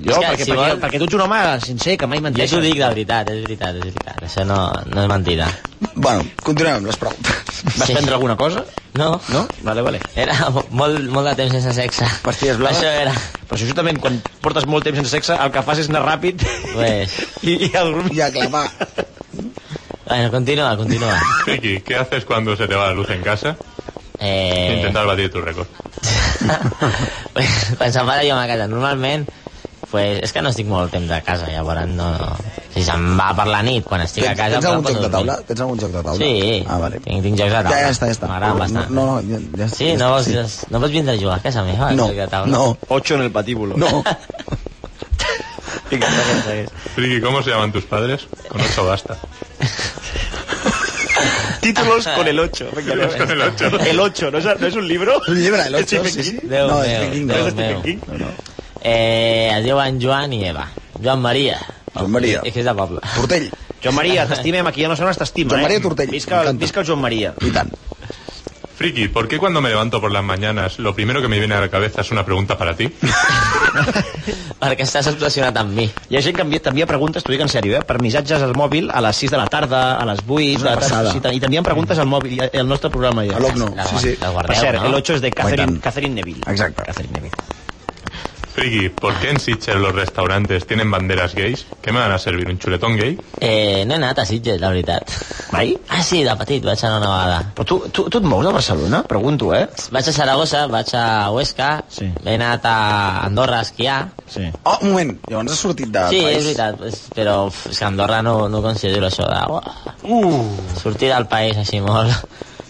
Speaker 2: Jo,
Speaker 5: És que,
Speaker 2: perquè,
Speaker 5: si
Speaker 2: perquè,
Speaker 5: vol-
Speaker 2: perquè tu ets un home sincer, que mai
Speaker 5: Jo
Speaker 2: menteixes.
Speaker 5: t'ho dic de veritat, és veritat, és veritat. Això no, no és mentida.
Speaker 4: Bueno, continuem amb les preguntes.
Speaker 2: Vas
Speaker 5: Sí.
Speaker 2: prendre alguna cosa?
Speaker 5: No,
Speaker 2: No? Vale, vale.
Speaker 5: era mo- molt, molt de temps sense sexe.
Speaker 4: Pastilles blaves?
Speaker 5: Això era...
Speaker 2: Però si justament quan portes molt temps sense sexe, el que fas és anar ràpid
Speaker 5: Pues,
Speaker 2: i, i el grup...
Speaker 4: Ja, clar, va.
Speaker 5: bueno, continua, continua.
Speaker 3: Ricky, ¿qué haces cuando se te va la luz en casa?
Speaker 5: Eh...
Speaker 3: Intentar batir tu récord.
Speaker 5: quan se'n va la llum a casa, normalment pues, és que no estic molt temps a casa, llavors no... Si se'n va per la nit, quan estic a
Speaker 4: Tens,
Speaker 5: casa...
Speaker 4: tens
Speaker 5: em
Speaker 4: algun
Speaker 5: poso
Speaker 4: joc de
Speaker 5: a dormir.
Speaker 4: taula? Tens algun joc de taula?
Speaker 5: Sí,
Speaker 4: Ah, vale.
Speaker 5: tinc, tinc jocs de taula.
Speaker 4: Ja, ja està, ja està.
Speaker 5: M'agraden bastant.
Speaker 4: No, no, ja, ja
Speaker 5: Sí, no vols, sí. no pots vindre a jugar a casa meva? al
Speaker 4: No,
Speaker 5: joc de taula?
Speaker 4: no,
Speaker 2: 8 en el patíbulo.
Speaker 4: no.
Speaker 2: Vinga, segueix, segueix.
Speaker 3: Ricky, ¿cómo se llaman tus padres? Con ocho basta.
Speaker 2: Títulos con el 8.
Speaker 3: Títulos con el ocho.
Speaker 2: El 8, ¿no es, no es un libro?
Speaker 4: És un llibre, el 8,
Speaker 2: Stephen
Speaker 4: sí, sí.
Speaker 2: King.
Speaker 5: Déu
Speaker 4: no,
Speaker 5: meu,
Speaker 4: és King,
Speaker 5: Déu
Speaker 4: no.
Speaker 5: meu.
Speaker 2: King.
Speaker 4: No, no.
Speaker 5: Eh, es diuen Joan i Eva. Joan Maria.
Speaker 4: Joan Maria.
Speaker 5: És que és de poble.
Speaker 4: Portell,
Speaker 2: Joan Maria, t'estimem, aquí a la zona t'estima.
Speaker 4: Joan
Speaker 2: eh?
Speaker 4: Maria Tortell,
Speaker 2: Visca, el,
Speaker 4: m'encanta.
Speaker 2: visca el Joan Maria.
Speaker 4: i tant.
Speaker 3: Friki, ¿por qué cuando me levanto por las mañanas lo primero que me viene a la cabeza es una pregunta para ti?
Speaker 5: Perquè estàs obsessionat amb mi.
Speaker 2: Hi ha gent que envia, t'envia preguntes, t'ho dic en sèrio, eh? per missatges al mòbil a les 6 de la tarda, a les 8,
Speaker 4: És
Speaker 2: de
Speaker 4: una
Speaker 2: la tarda,
Speaker 4: passada.
Speaker 2: sí, i t'envien preguntes al mòbil, i al nostre programa ja.
Speaker 4: A l'OCNO,
Speaker 5: La
Speaker 4: sí,
Speaker 5: guar-
Speaker 4: sí.
Speaker 5: La guardeu,
Speaker 2: Per cert,
Speaker 5: no?
Speaker 2: Pues el 8 és de
Speaker 4: Guaitant.
Speaker 2: Catherine, Catherine Neville.
Speaker 4: Exacte.
Speaker 2: Catherine Neville.
Speaker 3: Friki, ¿por qué en Sitges los restaurantes tienen banderas gays? ¿Qué me van a servir? ¿Un chuletón gay?
Speaker 5: Eh, no he anat a Sitges, la veritat.
Speaker 2: Mai?
Speaker 5: Ah, sí, de petit, vaig anar una vegada.
Speaker 2: Però tu, tu, tu et mous a Barcelona? Pregunto, eh?
Speaker 5: Vaig a Saragossa, vaig a Huesca,
Speaker 2: Sí.
Speaker 5: he anat a Andorra a esquiar.
Speaker 2: Sí.
Speaker 4: Oh, un moment, llavors has sortit de
Speaker 5: Sí, és
Speaker 4: Ah, país.
Speaker 5: veritat, pues, però uf, és que Andorra no, no considero això de... Uah,
Speaker 2: Uh.
Speaker 5: sortir del país així molt...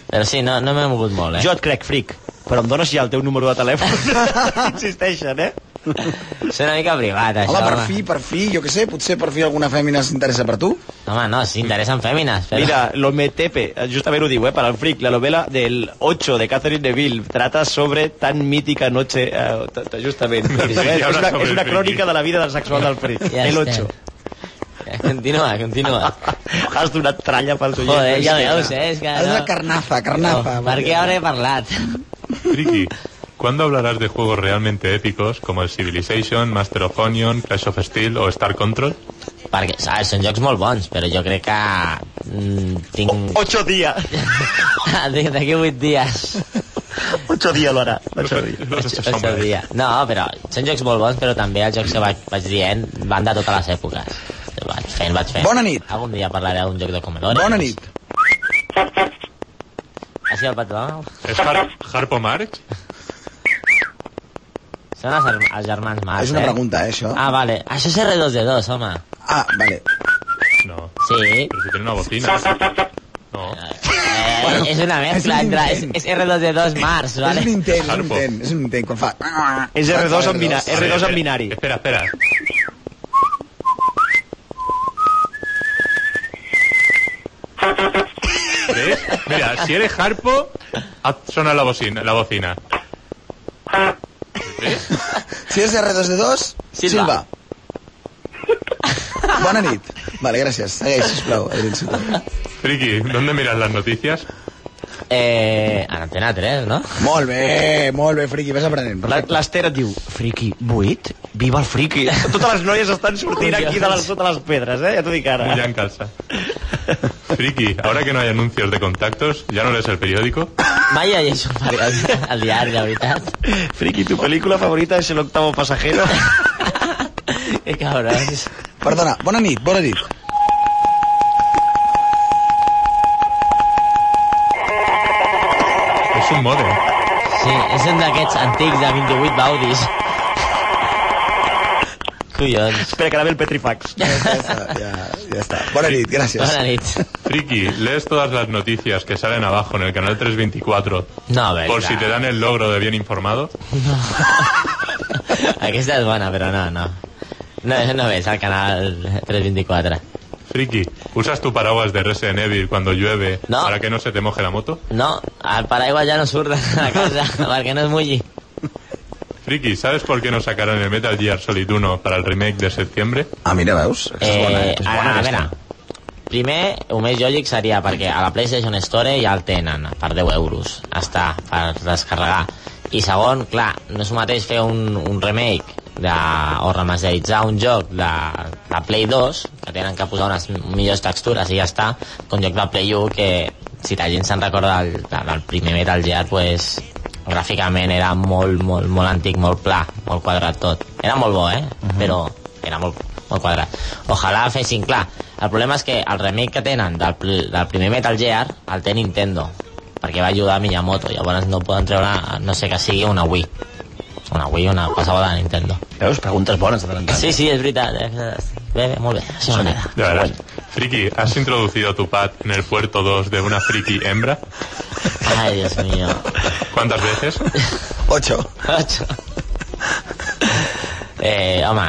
Speaker 5: Però sí, no, no m'he mogut molt, eh?
Speaker 2: Jo et crec, fric, però em dones ja el teu número de telèfon. Insisteixen, eh?
Speaker 5: És una mica privat, això.
Speaker 4: Home, per fi, per fi, jo què sé, potser per fi alguna fèmina s'interessa per tu.
Speaker 5: Home, no, si interessen fèmines. Però...
Speaker 2: Mira, lo metepe, justamente lo digo, eh, para el freak, la novela del 8 de Catherine Neville trata sobre tan mítica noche, eh, t- t- justament.
Speaker 3: El
Speaker 2: És
Speaker 3: freak habla
Speaker 2: una, és
Speaker 3: sobre el
Speaker 2: una
Speaker 3: freak.
Speaker 2: crònica de la vida del sexual del freak,
Speaker 5: Ja
Speaker 2: el
Speaker 5: estem.
Speaker 2: 8.
Speaker 5: Continua, continua.
Speaker 2: Has donat tralla pels oients.
Speaker 5: Joder, ja veus, eh? És que
Speaker 4: És
Speaker 5: no...
Speaker 4: una carnaza, carnaza.
Speaker 5: No, per què hauré parlat?
Speaker 3: Friki, ¿cuándo hablarás de juegos realmente épicos como el Civilization, Master of Onion, Clash of Steel o Star Control?
Speaker 5: Perquè, saps, són jocs molt bons, però jo crec que... Mm,
Speaker 4: Oh,
Speaker 5: tinc...
Speaker 2: 8 dies.
Speaker 5: D'aquí vuit dies.
Speaker 2: 8 dies l'hora.
Speaker 3: Los, los
Speaker 5: Això
Speaker 3: hombres.
Speaker 5: sabia. No, però són jocs molt bons, però també els jocs que vaig, vaig dient van de totes les èpoques. Vaig fent, vaig fent.
Speaker 4: Bona nit.
Speaker 5: Algun dia parlaré d'un joc de comedor.
Speaker 4: Bona nit.
Speaker 5: Ha sigut el patró?
Speaker 3: ¿Es Har- Harpo Marx?
Speaker 5: Són els, germ- els germans Marx,
Speaker 4: És una
Speaker 5: eh?
Speaker 4: pregunta, eh, això.
Speaker 5: Ah, vale. Això és R2-D2, home.
Speaker 4: Ah, vale.
Speaker 3: No,
Speaker 5: Sí.
Speaker 3: pero si tiene una bocina. No,
Speaker 5: Eh, és una mescla
Speaker 4: és un
Speaker 5: entre... És,
Speaker 4: intent.
Speaker 5: és R2-D2 Marx,
Speaker 4: Vale.
Speaker 5: vale?
Speaker 4: És un intent, és un
Speaker 3: Harpo.
Speaker 4: intent, és un intent, quan fa...
Speaker 2: És R2 amb bina-
Speaker 3: A ver,
Speaker 2: R2 en
Speaker 3: espera,
Speaker 2: binari.
Speaker 3: Espera, espera. ¿Ves? Mira, si eres Harpo, haz- suena la bocina. La bocina.
Speaker 4: Si és R2D2, Silva.
Speaker 5: Silva.
Speaker 4: Bona nit. Vale, gràcies. Segueix, sisplau, Adrián Silva.
Speaker 3: Friki, ¿dónde miras las noticias?
Speaker 5: Eh, en Antena 3, no?
Speaker 4: Molt bé, molt bé, friqui, vas aprenent.
Speaker 2: La-
Speaker 4: Perfecte.
Speaker 2: L'Esther et diu, friki, buit? Viva el friki. Totes les noies estan sortint aquí de les, sota les pedres, eh? Ja t'ho dic ara.
Speaker 3: Muy ya en calza. Friki, ahora que no hay anuncios de contactos, ¿ya no lees el periódico?
Speaker 5: Mai llegeixo un periòdic al diari, la veritat.
Speaker 2: Friki, tu película favorita és El octavo pasajero.
Speaker 5: Que cabrons.
Speaker 4: Perdona, bona nit, bona nit.
Speaker 3: Es un modem.
Speaker 5: Sí, és un d'aquests antics de 28 baudis. Collons.
Speaker 2: Espera, que ara ve el Petrifax.
Speaker 4: Ja, està, ja, ja està. Bona nit, gràcies.
Speaker 5: Bona nit.
Speaker 3: Friki, lees todas las noticias que salen abajo en el canal 324
Speaker 5: No, a veure.
Speaker 3: por si te dan el logro de bien informado.
Speaker 5: Aquesta és bona, però no, no. No, no ves al canal 324.
Speaker 3: Friki, ¿usas tu paraguas de Resident Evil cuando llueve
Speaker 5: No.
Speaker 3: para que no se te moje la moto?
Speaker 5: No, el paraigua ja no surt de la casa, perquè no es mulli.
Speaker 3: Friki, ¿sabes por qué no sacarán el Metal Gear Solid 1 para el remake de septiembre?
Speaker 4: Ah, mira, veus? Aquesta és bona,
Speaker 5: Eh,
Speaker 4: aquesta és bona,
Speaker 5: ara, a
Speaker 4: aquesta.
Speaker 5: veure, primer, el més lògic seria perquè a la PlayStation Store ja el tenen per 10 euros, està, per descarregar. I segon, clar, no és el mateix fer un, un remake de, o remasteritzar un joc de, de Play 2, que tenen que posar unes millors textures i ja està, que un joc de Play 1 que, si la gent se'n recorda del, del primer Metal Gear, pues, gràficament era molt, molt, molt antic, molt pla, molt quadrat tot. Era molt bo, eh?
Speaker 4: Mhm.
Speaker 5: Però era molt, molt quadrat. Ojalà fessin clar. El problema és que el remake que tenen del, pr- del primer Metal Gear el té Nintendo, perquè va ajudar a Miyamoto, llavors no poden treure, no sé que sigui, una Wii. Una Wii, una qualsevol de Nintendo.
Speaker 2: Veus, preguntes bones de tant en tant.
Speaker 5: Sí, sí, és veritat. Eh? Bé, bé, molt bé. Això no queda.
Speaker 3: Ya verás. Friki, ¿has introducido tu pad en el puerto 2 de una friki hembra?
Speaker 5: Ai, Dios mío.
Speaker 3: ¿Cuántas veces?
Speaker 4: Ocho.
Speaker 5: Ocho. Eh, home,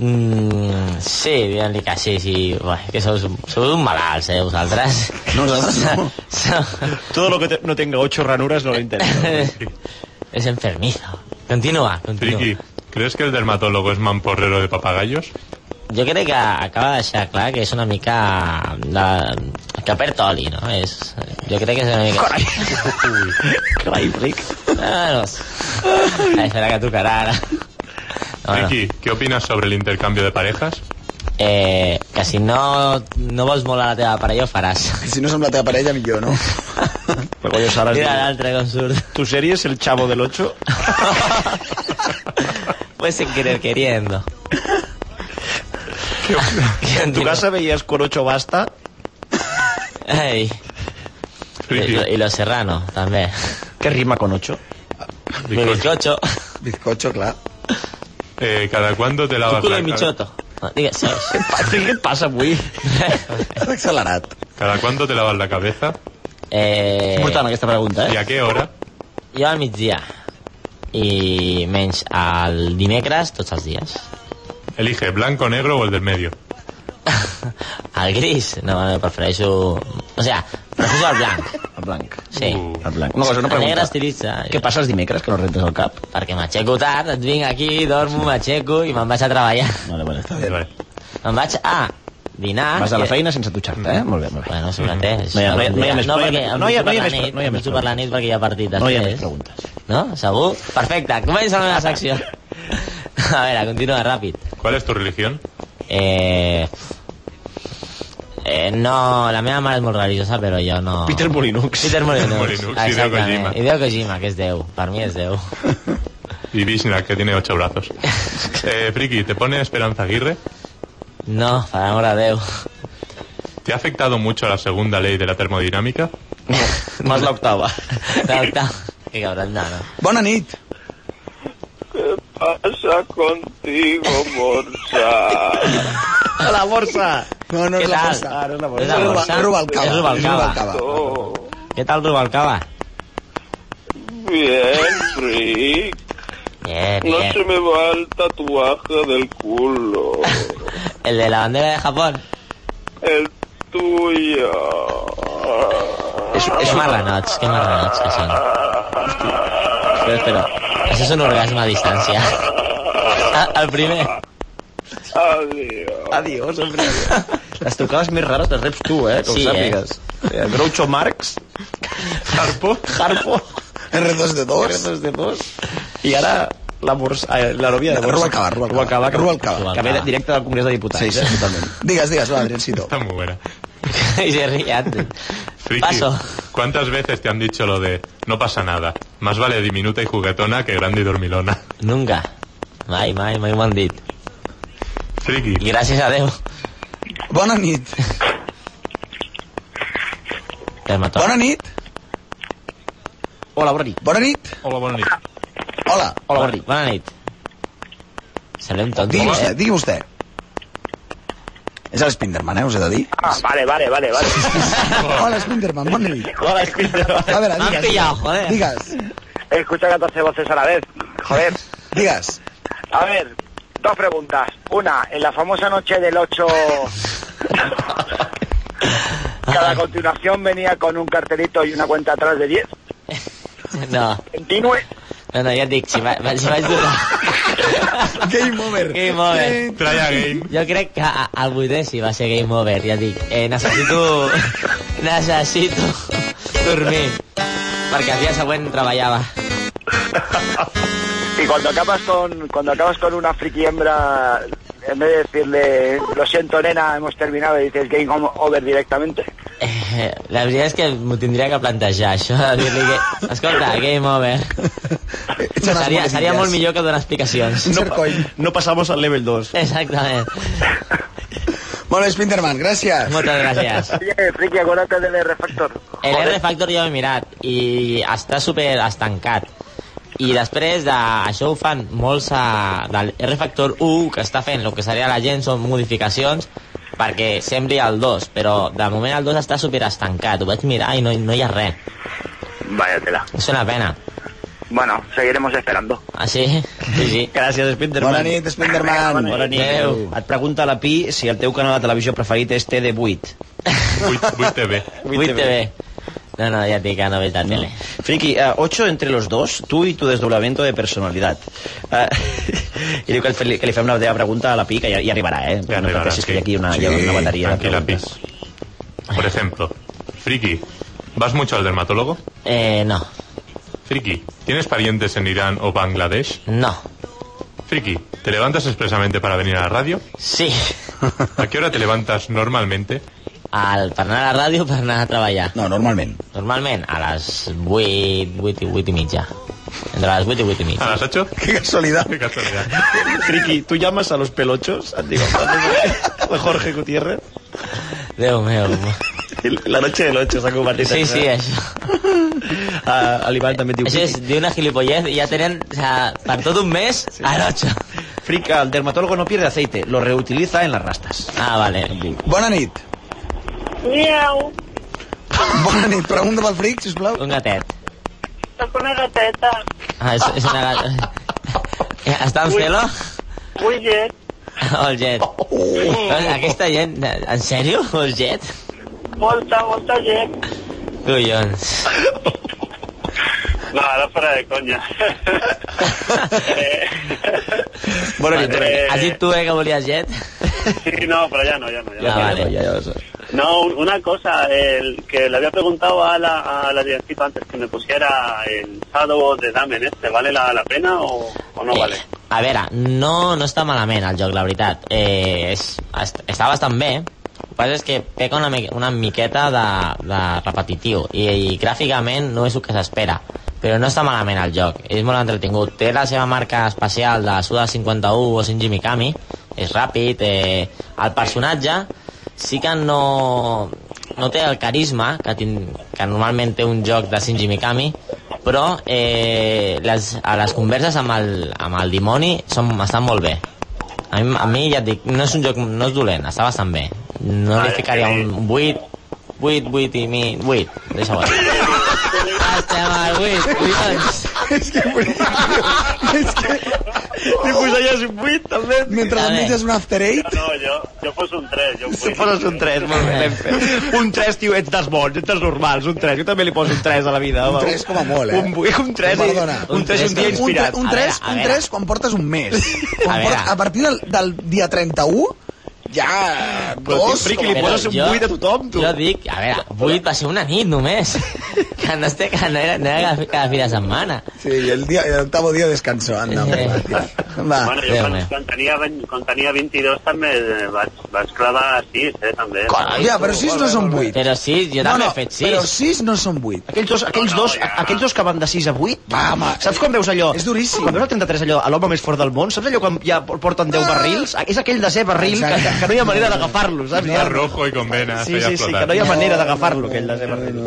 Speaker 5: mm, sí, diguem-li que sí, sí, Bé, que sou, sou un malalts, eh, vosaltres.
Speaker 4: Nosaltres no.
Speaker 5: Sou-
Speaker 2: Todo lo que te- no tenga ocho ranuras no lo interesa.
Speaker 5: es enfermizo. Continúa, continúa.
Speaker 3: Friki, ¿crees que el dermatólogo es mamporrero de papagayos?
Speaker 5: Jo crec que acaba de deixar clar que és una mica... La... que perd oli, no? És... Jo crec que és una mica... Carai,
Speaker 2: Carai, Rick.
Speaker 5: ah, no. Ai, serà que tocarà ara. Bueno,
Speaker 3: Friki, ¿qué opinas sobre el intercambio de parejas?
Speaker 5: eh, que si no, no vols molar la teva parella, ho faràs.
Speaker 4: Si no som la teva parella, millor, no?
Speaker 2: Però collos ara es
Speaker 5: Mira
Speaker 2: diu,
Speaker 5: l'altre com surt.
Speaker 2: tu sèrie és el chavo del 8?
Speaker 5: Pues sin querer queriendo.
Speaker 2: En tu casa veies con 8 basta?
Speaker 5: Ai. I,
Speaker 3: Friki,
Speaker 5: i lo serrano, també.
Speaker 2: Què rima con 8?
Speaker 5: Mi bizcocho.
Speaker 4: Bizcocho, clar.
Speaker 3: eh, ¿cada cuándo te lavas la
Speaker 5: Culo de
Speaker 3: cara?
Speaker 5: michoto. No, Digues, saps?
Speaker 2: Què et passa avui?
Speaker 4: Has accelerat.
Speaker 3: ¿Cada cuánto te lavas la cabeza?
Speaker 5: Eh,
Speaker 2: Important aquesta pregunta,
Speaker 3: ¿Y
Speaker 2: eh?
Speaker 3: a qué hora?
Speaker 5: jo al migdia. i menys el dimecres tots els dies.
Speaker 3: Elige blanco, negro o el del medio.
Speaker 5: El gris, no, no prefereixo... O sea, prefereixo el blanc,
Speaker 2: El blanc.
Speaker 5: sí.
Speaker 3: Uh.
Speaker 2: El blanc. Una cosa, una
Speaker 5: el negre
Speaker 2: pregunta.
Speaker 5: estilitza.
Speaker 2: Què passa els dimecres que no rentes el cap?
Speaker 5: Perquè m'aixeco tard, et vinc aquí, dormo, m'aixeco i me'n vaig a treballar.
Speaker 2: Vale, vale, està bé.
Speaker 3: Vale.
Speaker 5: Me'n vaig a dinar...
Speaker 2: Vas a la
Speaker 5: que-
Speaker 2: feina sense dutxar-te, eh? Molt bé, molt bé.
Speaker 5: Bueno, sobretot.
Speaker 2: No hi ha- no hi ha- no hi ha més-
Speaker 5: no,
Speaker 2: no hi ha-
Speaker 5: perquè em
Speaker 2: no hi ha- no hi ha més- no
Speaker 5: dutxo per la nit,
Speaker 2: hi ha
Speaker 5: em
Speaker 2: més
Speaker 5: dutxo per la nit perquè hi ha
Speaker 2: No
Speaker 5: partit
Speaker 2: hi ha
Speaker 5: després.
Speaker 2: més preguntes.
Speaker 5: No? Segur? Perfecte, comença la meva secció. A veure, continua ràpid.
Speaker 3: ¿Cuál es tu religión?
Speaker 5: Eh... Eh, no, la meva mare és molt religiosa, però jo no...
Speaker 2: Peter Molinux.
Speaker 5: Peter Molinux.
Speaker 3: Molinux, Hideo
Speaker 5: exactament.
Speaker 3: Kojima.
Speaker 5: Hideo Kojima, que és Déu. Per mi és Déu.
Speaker 3: Y Vishnu, que tiene ocho brazos. Eh, Friki, ¿te pone Esperanza Aguirre?
Speaker 5: No, per amor a Déu.
Speaker 3: ¿Te ha afectado mucho la segunda ley de la termodinámica?
Speaker 2: Mas l'octava.
Speaker 5: Doctor. Que cabron, no, no.
Speaker 4: Bona nit.
Speaker 8: pasa contigo, Morsa?
Speaker 2: A la borsa!
Speaker 4: No, no
Speaker 5: Què
Speaker 4: és la
Speaker 5: tal?
Speaker 4: força.
Speaker 5: Ah, no és
Speaker 4: És
Speaker 5: la borsa.
Speaker 4: la
Speaker 5: borsa.
Speaker 4: borsa. És Rubalcaba.
Speaker 5: És Rubalcaba. Què tal, Rubalcaba?
Speaker 8: Bien, Rick.
Speaker 5: Bien,
Speaker 8: No
Speaker 5: bien.
Speaker 8: se me va el tatuaje del culo.
Speaker 5: El de la bandera de Japón.
Speaker 8: El tuyo.
Speaker 5: Que marranots, que marranots que són.
Speaker 2: Espera, espera.
Speaker 5: Això és un orgasme a distància. Ah, el primer.
Speaker 8: Adiós.
Speaker 2: Adiós, hombre. Les trucades més rares les reps tu, eh? Que
Speaker 5: Sí,
Speaker 2: ho
Speaker 5: eh?
Speaker 2: sàpigues. Eh? Groucho Marx. Harpo. Harpo.
Speaker 4: R2D2.
Speaker 2: Dos de dos. I ara la borsa... Eh, la novia de borsa.
Speaker 4: Rubalcaba, Rubalcaba.
Speaker 2: Rubalcaba. que-
Speaker 4: Rubalcaba.
Speaker 2: Que ve directe del Congrés de Diputats.
Speaker 4: Sí, sí,
Speaker 2: Eh?
Speaker 4: totalment. Digues, digues, va, Adriancito.
Speaker 3: Está muy buena.
Speaker 5: I Jerry Anthony.
Speaker 3: Friki,
Speaker 5: Paso.
Speaker 3: ¿cuántas veces te han dicho lo de no pasa nada? Más vale diminuta y juguetona que grande y dormilona.
Speaker 5: Nunca. Mai, mai, mai m'ho han dit. I
Speaker 3: Friki,
Speaker 5: gràcies a Déu.
Speaker 4: Bona nit.
Speaker 5: Dermatòleg.
Speaker 4: Bona nit.
Speaker 2: Hola, bona nit.
Speaker 4: Bona nit.
Speaker 3: hola, bona nit.
Speaker 4: Hola.
Speaker 2: Hola, bona nit.
Speaker 5: Bona nit. Serem tontos,
Speaker 4: Digui vostè,
Speaker 5: eh?
Speaker 4: digui vostè. És el Spinderman, eh, us he de dir.
Speaker 7: Ah, vale, vale, vale, vale.
Speaker 4: Hola, Spinderman, bona nit.
Speaker 2: Hola, Spinderman.
Speaker 4: A veure,
Speaker 5: M'han
Speaker 4: digues,
Speaker 5: pillat, eh? joder.
Speaker 4: digues,
Speaker 7: He escuchado 14 voces a la vez. Joder.
Speaker 4: digues.
Speaker 7: A ver, dos preguntas. Una, en la famosa noche del 8... Cada continuación venía con un cartelito y una cuenta atrás de 10.
Speaker 5: No,
Speaker 7: Continúe.
Speaker 5: no, no, ja et dic, si, va, va- si vaig durar...
Speaker 4: Game over.
Speaker 5: Game over.
Speaker 3: Trae a Game.
Speaker 5: Jo crec que a- al vuitè sí va ser Game Over, ja et dic. Eh, necessito... necessito dormir. Perquè el dia següent treballava.
Speaker 7: Y cuando acabas con cuando acabas con una friki hembra, en vez de decirle, lo siento nena, hemos terminado, y dices game home- over directamente.
Speaker 5: Eh, la veritat és que m'ho tindria que plantejar, això, de dir-li que... Escolta, game over.
Speaker 4: Ets unes
Speaker 5: Seria,
Speaker 4: bones
Speaker 5: seria
Speaker 4: idees.
Speaker 5: molt millor que donar explicacions.
Speaker 4: Sincer coll.
Speaker 2: No passamos al level 2.
Speaker 5: Exactament.
Speaker 4: Molt bé, Spinderman, gràcies.
Speaker 5: Moltes gràcies.
Speaker 7: Oye, friki, acuérdate del R-Factor.
Speaker 5: El
Speaker 7: Joder.
Speaker 5: R Factor ja ho he mirat i està super estancat. I després de, això ho fan molts a, del R Factor 1 que està fent el que seria la gent són modificacions perquè sembli el 2, però de moment el 2 està super estancat. Ho vaig mirar i no, no hi ha res.
Speaker 7: Vaya tela.
Speaker 5: És una pena.
Speaker 7: Bueno, seguiremos esperando.
Speaker 5: Així, sí, sí.
Speaker 2: Gràcies, Spinderman.
Speaker 4: Bona nit, Spinderman.
Speaker 2: Bona nit.
Speaker 5: Adéu.
Speaker 2: Et pregunta la Pi si el teu canal de televisió preferit és TD8.
Speaker 3: Uy, uy, TV.
Speaker 5: 8 TV. No, no, ya te dic que no veig la tele.
Speaker 2: Friki, eh, 8 entre los dos, tú y tu desdoblamiento de personalidad. Eh, I diu que, el, Feli- que li fem una última pregunta a la Pi, que ja, ja arribarà, eh?
Speaker 3: Ja
Speaker 2: no
Speaker 3: arribarà,
Speaker 2: pensis que hi ha aquí una,
Speaker 4: sí.
Speaker 2: hi ha una bateria de
Speaker 3: Tranquila,
Speaker 2: preguntes.
Speaker 3: Pis. Por ejemplo, Friki, ¿vas mucho al dermatólogo?
Speaker 5: Eh, no,
Speaker 3: Friki, ¿tienes parientes en Irán o Bangladesh?
Speaker 5: no,
Speaker 3: Friki, ¿te levantas expresamente para venir a la radio?
Speaker 5: sí.
Speaker 3: ¿A qué hora te levantas normalmente?
Speaker 5: Al, per anar a la ràdio, per anar a treballar.
Speaker 4: No, normalment.
Speaker 5: Normalment a les 8, 8 i 8 i mitja. Entre les 8 i 8
Speaker 3: ¿A
Speaker 5: i mitja.
Speaker 3: las 8?
Speaker 4: Que casualitat.
Speaker 3: Qué casualidad.
Speaker 2: Friki, ¿tú llamas a los pelochos? Et digo, de Jorge Gutiérrez.
Speaker 5: Déu meu.
Speaker 2: El- La noche del 8 s'ha convertit
Speaker 5: Sí,
Speaker 2: en-
Speaker 5: sí, això.
Speaker 2: A, a l'Ivan també et diu...
Speaker 5: Això és d'una gilipollez i ja tenen, o sea, per tot un mes, a l'otxa.
Speaker 2: Friki, el dermatólogo no pierde aceite, lo reutiliza en las rastas.
Speaker 5: Ah, vale.
Speaker 4: Bona nit.
Speaker 9: Miau,
Speaker 4: Bona nit. Pregunta pel Fric, sisplau.
Speaker 5: Un gatet.
Speaker 9: sóc una gateta.
Speaker 5: Ah, és, és una gata... Està en celo?
Speaker 10: Muy bien.
Speaker 5: El Jet. Doncs Aquesta gent... En sèrio? El Jet?
Speaker 10: Molta, molta gent.
Speaker 5: Collons.
Speaker 6: No, ara farà de conya. eh,
Speaker 5: Bueno,
Speaker 6: que tu-
Speaker 5: Has dit tu, eh, que volies Jet?
Speaker 6: sí, no, però ja no, ja no. Ja.
Speaker 5: Ah, vale.
Speaker 2: Ya, ya lo sé.
Speaker 6: No, un- una cosa, el que le había preguntado a la, a la directiva antes que me pusiera el Shadow de Damen, ¿este vale la, la pena o, o no vale?
Speaker 5: Eh, a veure, no, no està malament el joc, la veritat. Eh, és, est està bastant bé. El que passa és que peca una, mi una miqueta de, de repetitiu i, i gràficament no és el que s'espera. Però no està malament el joc, és molt entretingut. Té la seva marca especial de Suda 51 o Shinji Mikami, és ràpid, eh, el personatge sí que no, no té el carisma que, tin, que normalment té un joc de Shinji Mikami, però eh, les, a les converses amb el, amb el dimoni són, estan molt bé. A mi, a mi ja et dic, no és un joc no és dolent, està bastant bé. No li ficaria
Speaker 2: eh,
Speaker 5: un 8, 8, 8 i mi... 8, deixa-ho aquí. Estem al 8, collons.
Speaker 4: És que... És que...
Speaker 2: I posaries un 8, també.
Speaker 4: Mentre
Speaker 5: A
Speaker 4: et
Speaker 5: ver.
Speaker 4: menges un after eight...
Speaker 6: No, yo, yo puse un 3, yo
Speaker 2: Tu poses un 3, molt bé, ben fet. Un 3, tio, ets dels bons, ets dels normals, un 3. Jo també li poso un 3 a la vida.
Speaker 4: Un
Speaker 2: home.
Speaker 4: tres com a molt, eh?
Speaker 2: Un, bu- un 3,
Speaker 4: Perdona.
Speaker 2: un 3 un dia
Speaker 4: Un, tre-
Speaker 5: Un-
Speaker 2: inspirat.
Speaker 4: un
Speaker 5: A
Speaker 4: 3,
Speaker 5: veure, a
Speaker 4: un
Speaker 5: veure.
Speaker 4: 3 quan portes un mes. Quan
Speaker 5: A
Speaker 4: port,
Speaker 5: veure.
Speaker 4: a partir del, del dia 31, ja...
Speaker 2: Però, tio,
Speaker 4: Dos,
Speaker 2: friqui,
Speaker 4: com a
Speaker 2: li
Speaker 4: molt.
Speaker 2: poses un
Speaker 5: jo-
Speaker 2: 8 a tothom, tu.
Speaker 5: Jo dic, a veure, 8 va ser una nit només. Que no, este, que no era, no era cada, cada fi de setmana.
Speaker 4: Sí, i el, dia, el octavo dia descanso. Anda,
Speaker 5: Eh.
Speaker 4: va, tio. va.
Speaker 6: Bueno, jo
Speaker 5: Déu
Speaker 6: quan,
Speaker 5: meu.
Speaker 6: quan, tenia, ve- quan tenia 22 també eh, vaig, vaig clavar 6, eh, també.
Speaker 5: Coi,
Speaker 4: Ja, però 6 no són 8.
Speaker 5: Però sí, jo també he fet 6.
Speaker 4: però 6 no són 8.
Speaker 2: Aquells dos, aquells, dos, aquells dos que van de 6 a 8,
Speaker 4: Va, home,
Speaker 2: saps quan veus allò?
Speaker 4: és duríssim.
Speaker 2: Quan veus el 33 allò, a l'home més fort del món, saps allò quan ja porten 10 barrils? Ah, És aquell de ser barril que,
Speaker 4: Ah. Exacte.
Speaker 2: que no hi ha manera d'agafar-lo, saps?
Speaker 3: Era rojo y con venas.
Speaker 2: Sí,
Speaker 3: ya
Speaker 2: sí, sí,
Speaker 3: flotar.
Speaker 2: que no hi ha manera d'agafar-lo, aquell de ser barril.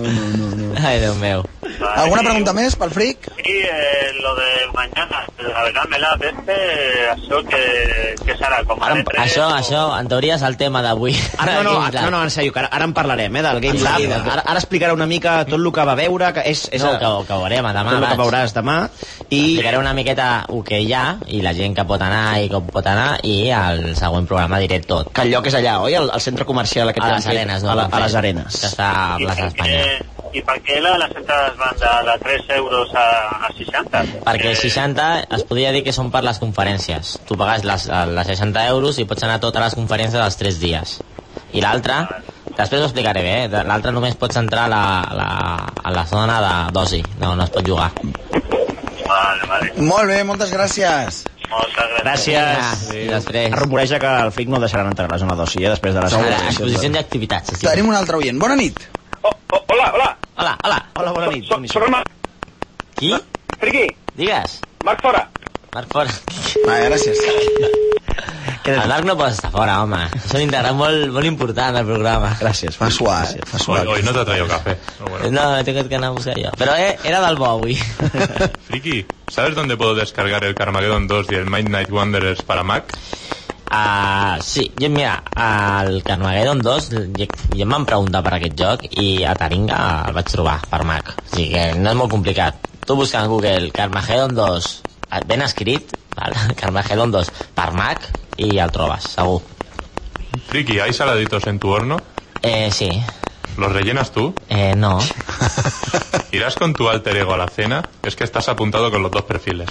Speaker 5: Ai, Déu meu.
Speaker 6: Vale.
Speaker 4: Alguna pregunta més pel fric?
Speaker 6: Sí, eh, lo de mañana, la verdad me la este, això que, que serà com a
Speaker 5: Ara,
Speaker 6: D3
Speaker 5: això,
Speaker 6: o-
Speaker 5: això, en teoria és el tema d'avui.
Speaker 2: Ara, no, no, no, no, en sèrio, que ara, ara en parlarem, eh, del Game
Speaker 5: Sí,
Speaker 2: Lab.
Speaker 5: sí, del-
Speaker 2: Ara, ara explicarà una mica tot el que va veure, que és... és
Speaker 5: no, que, ho- que ho veurem demà.
Speaker 2: tot el que
Speaker 5: abans.
Speaker 2: veuràs demà. I...
Speaker 5: Explicaré una miqueta el que hi ha, i la gent que pot anar i com pot anar, i al següent programa diré tot.
Speaker 2: Que el lloc és allà, oi? El, el centre comercial aquest
Speaker 5: A
Speaker 2: que
Speaker 5: les
Speaker 2: han fet.
Speaker 5: arenes, no?
Speaker 2: A, la, a les arenes.
Speaker 5: Que està a
Speaker 6: I
Speaker 5: plaça
Speaker 6: per
Speaker 5: Espanya.
Speaker 6: què- I per què la, les entrades van de, de 3 euros a, a Eh, 60?
Speaker 5: Perquè 60 es podria dir que són per les conferències. Tu pagues les, eh, les 60 euros i pots anar a totes les conferències dels 3 dies. I l'altra, després ho explicaré bé, eh? De- l'altra només pots entrar a la, a la, a la zona de dosi, no, no es pot jugar.
Speaker 6: Vale, vale.
Speaker 4: Molt bé, moltes gràcies.
Speaker 6: Moltes gràcies.
Speaker 2: Gràcies.
Speaker 5: Vinga, i després.
Speaker 2: Es rumoreja que el Fric no el deixaran entrar a la zona d'oci, eh, després de les
Speaker 5: Ara,
Speaker 2: arenes.
Speaker 5: exposicions i activitats. sí.
Speaker 4: Tenim un altre oient. Bona nit.
Speaker 6: Oh, oh, hola, hola.
Speaker 5: Hola, hola.
Speaker 2: Hola, bona nit.
Speaker 6: So, soc el Marc.
Speaker 5: Qui?
Speaker 6: Friqui,
Speaker 5: Digues.
Speaker 6: Marc fora.
Speaker 5: Marc Fora.
Speaker 4: Va, gràcies.
Speaker 5: El Marc no pot estar fora, home. És un integrant molt, molt important del programa.
Speaker 2: Gràcies.
Speaker 4: Fa suar, eh? fa
Speaker 3: Hoy,
Speaker 4: suar.
Speaker 3: hoy no te ha traído café. No, bueno.
Speaker 5: No, he tingut que anar a buscar jo. Però eh, era del bo avui.
Speaker 3: Friki, ¿sabes dónde puedo descargar el Carmageddon 2 y el Midnight Wanderers para Mac?
Speaker 5: Ah, sí, jo, mira, el Carmageddon 2 jo, jo em van preguntar per aquest joc i a Taringa el vaig trobar per Mac. O sigui que no és molt complicat. Tu busca en Google Carmageddon 2 eh, ben escrit, val? Carmageddon 2 per Mac i el trobes, segur.
Speaker 3: Friki, ¿hay saladitos en tu horno?
Speaker 5: Eh, sí.
Speaker 3: ¿Los rellenas tú?
Speaker 5: Eh, no.
Speaker 3: ¿Irás con tu alter ego a la cena? Es que estás apuntado con los dos perfiles.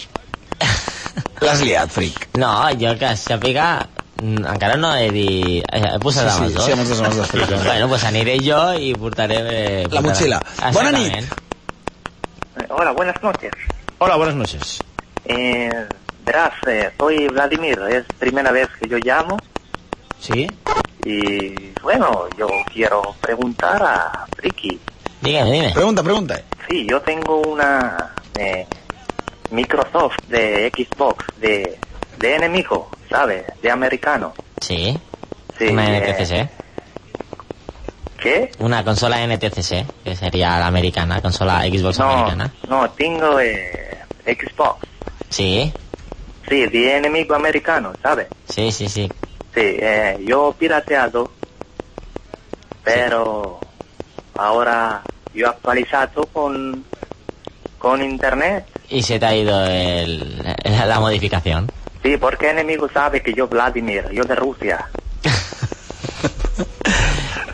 Speaker 4: L'has liat, fric.
Speaker 5: No, jo que sàpiga... mm, Encara no he dit... eh, He posat
Speaker 4: Sí,
Speaker 5: amb els
Speaker 4: sí,
Speaker 5: dos.
Speaker 4: sí, amb els dos, amb els dos, fric.
Speaker 5: Bueno, pues aniré jo i portaré... Eh,
Speaker 4: La
Speaker 5: portaré-
Speaker 4: motxilla. Bona nit.
Speaker 5: Exactament.
Speaker 7: Eh, Hola, buenas noches.
Speaker 2: Hola, buenas noches.
Speaker 7: Eh, verás, eh, soy Vladimir, es primera vez que yo llamo
Speaker 2: Sí?
Speaker 7: y bueno, yo quiero preguntar a Ricky.
Speaker 5: Digue'm, dime.
Speaker 4: Pregunta, pregunta.
Speaker 7: Sí, yo tengo una eh, Microsoft de Xbox de, de enemigo, ¿sabes? De americano.
Speaker 5: Sí.
Speaker 7: Sí,
Speaker 5: Una
Speaker 7: eh,
Speaker 5: NTCC.
Speaker 7: ¿Qué?
Speaker 5: Una consola NTCC, que sería la americana, consola Xbox
Speaker 7: No,
Speaker 5: americana.
Speaker 7: no, tengo eh, Xbox.
Speaker 5: Sí,
Speaker 7: Sí, de enemigo americano, ¿sabes?
Speaker 5: sí, sí, sí.
Speaker 7: Sí, eh, yo pirateado, pero ahora yo actualizado con, con internet
Speaker 5: y se te ha ido el- la modificación.
Speaker 11: Sí, porque enemigo sabe que yo Vladimir, yo de Rusia.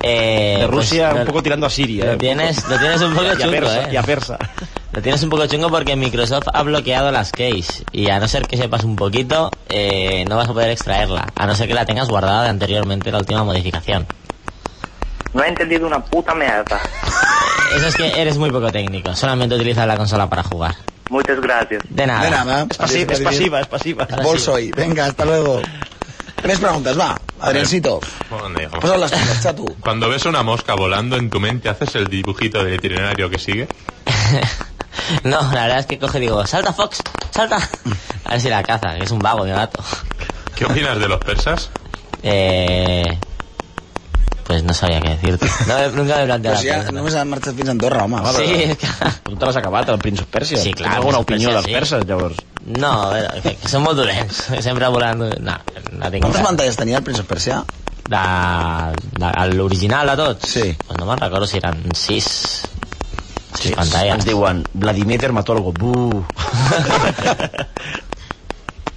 Speaker 5: Eh,
Speaker 2: De
Speaker 5: pues,
Speaker 2: Rusia,
Speaker 5: lo-
Speaker 2: un poco eh, tirando a Siria.
Speaker 5: Lo tienes, lo tienes un poco
Speaker 2: Y a
Speaker 5: chungo,
Speaker 2: Persa,
Speaker 5: eh.
Speaker 2: y a Persa.
Speaker 5: Lo tienes un poco chungo porque Microsoft ha bloqueado las keys y a no ser que sepas un poquito, eh, no vas a poder extraerla, a no ser que la tengas guardada de anteriormente la última modificación.
Speaker 11: No he entendido una puta mierda.
Speaker 5: Eso es que eres muy poco técnico, solamente utilizas la consola para jugar.
Speaker 11: Muchas gracias.
Speaker 5: De nada.
Speaker 4: De nada.
Speaker 2: Es, pasi- es pasiva, es pasiva.
Speaker 4: Bolsoy. Venga, hasta luego. Tres preguntas, va. Adriancito.
Speaker 3: Joder, joder.
Speaker 4: Pasan las tuyas, chatu.
Speaker 3: Cuando ves una mosca volando en tu mente, ¿haces el dibujito del itinerario que sigue?
Speaker 5: No, la verdad es que coge y digo, salta Fox, salta. A ver si la caza, que es un vago de gato.
Speaker 3: ¿Qué opinas de los persas?
Speaker 5: Eh, pues no sabía qué decirte. No, me- nunca me he planteado
Speaker 4: Pues
Speaker 5: la
Speaker 4: ja
Speaker 5: pregunta.
Speaker 4: no més han marxat fins a Andorra, home. Va,
Speaker 5: Sí,
Speaker 4: va,
Speaker 5: es que...
Speaker 2: Tu te l'has acabat, el príncep Pèrsia?
Speaker 5: Sí, clar,
Speaker 2: Tens alguna opinió
Speaker 5: príncep Pèrsia,
Speaker 2: dels
Speaker 5: sí.
Speaker 2: perses, llavors?
Speaker 5: No, eh, que són molt dolents. Sempre volant... No, no tinc
Speaker 4: Quantes
Speaker 5: cap.
Speaker 4: pantalles tenia el príncep persià?
Speaker 5: De, de, l'original de tots?
Speaker 4: Sí.
Speaker 5: Pues no me'n recordo si eren sis... Sis
Speaker 2: Ens
Speaker 5: pantalles.
Speaker 2: diuen, Vladimir Dermatólogo, buh.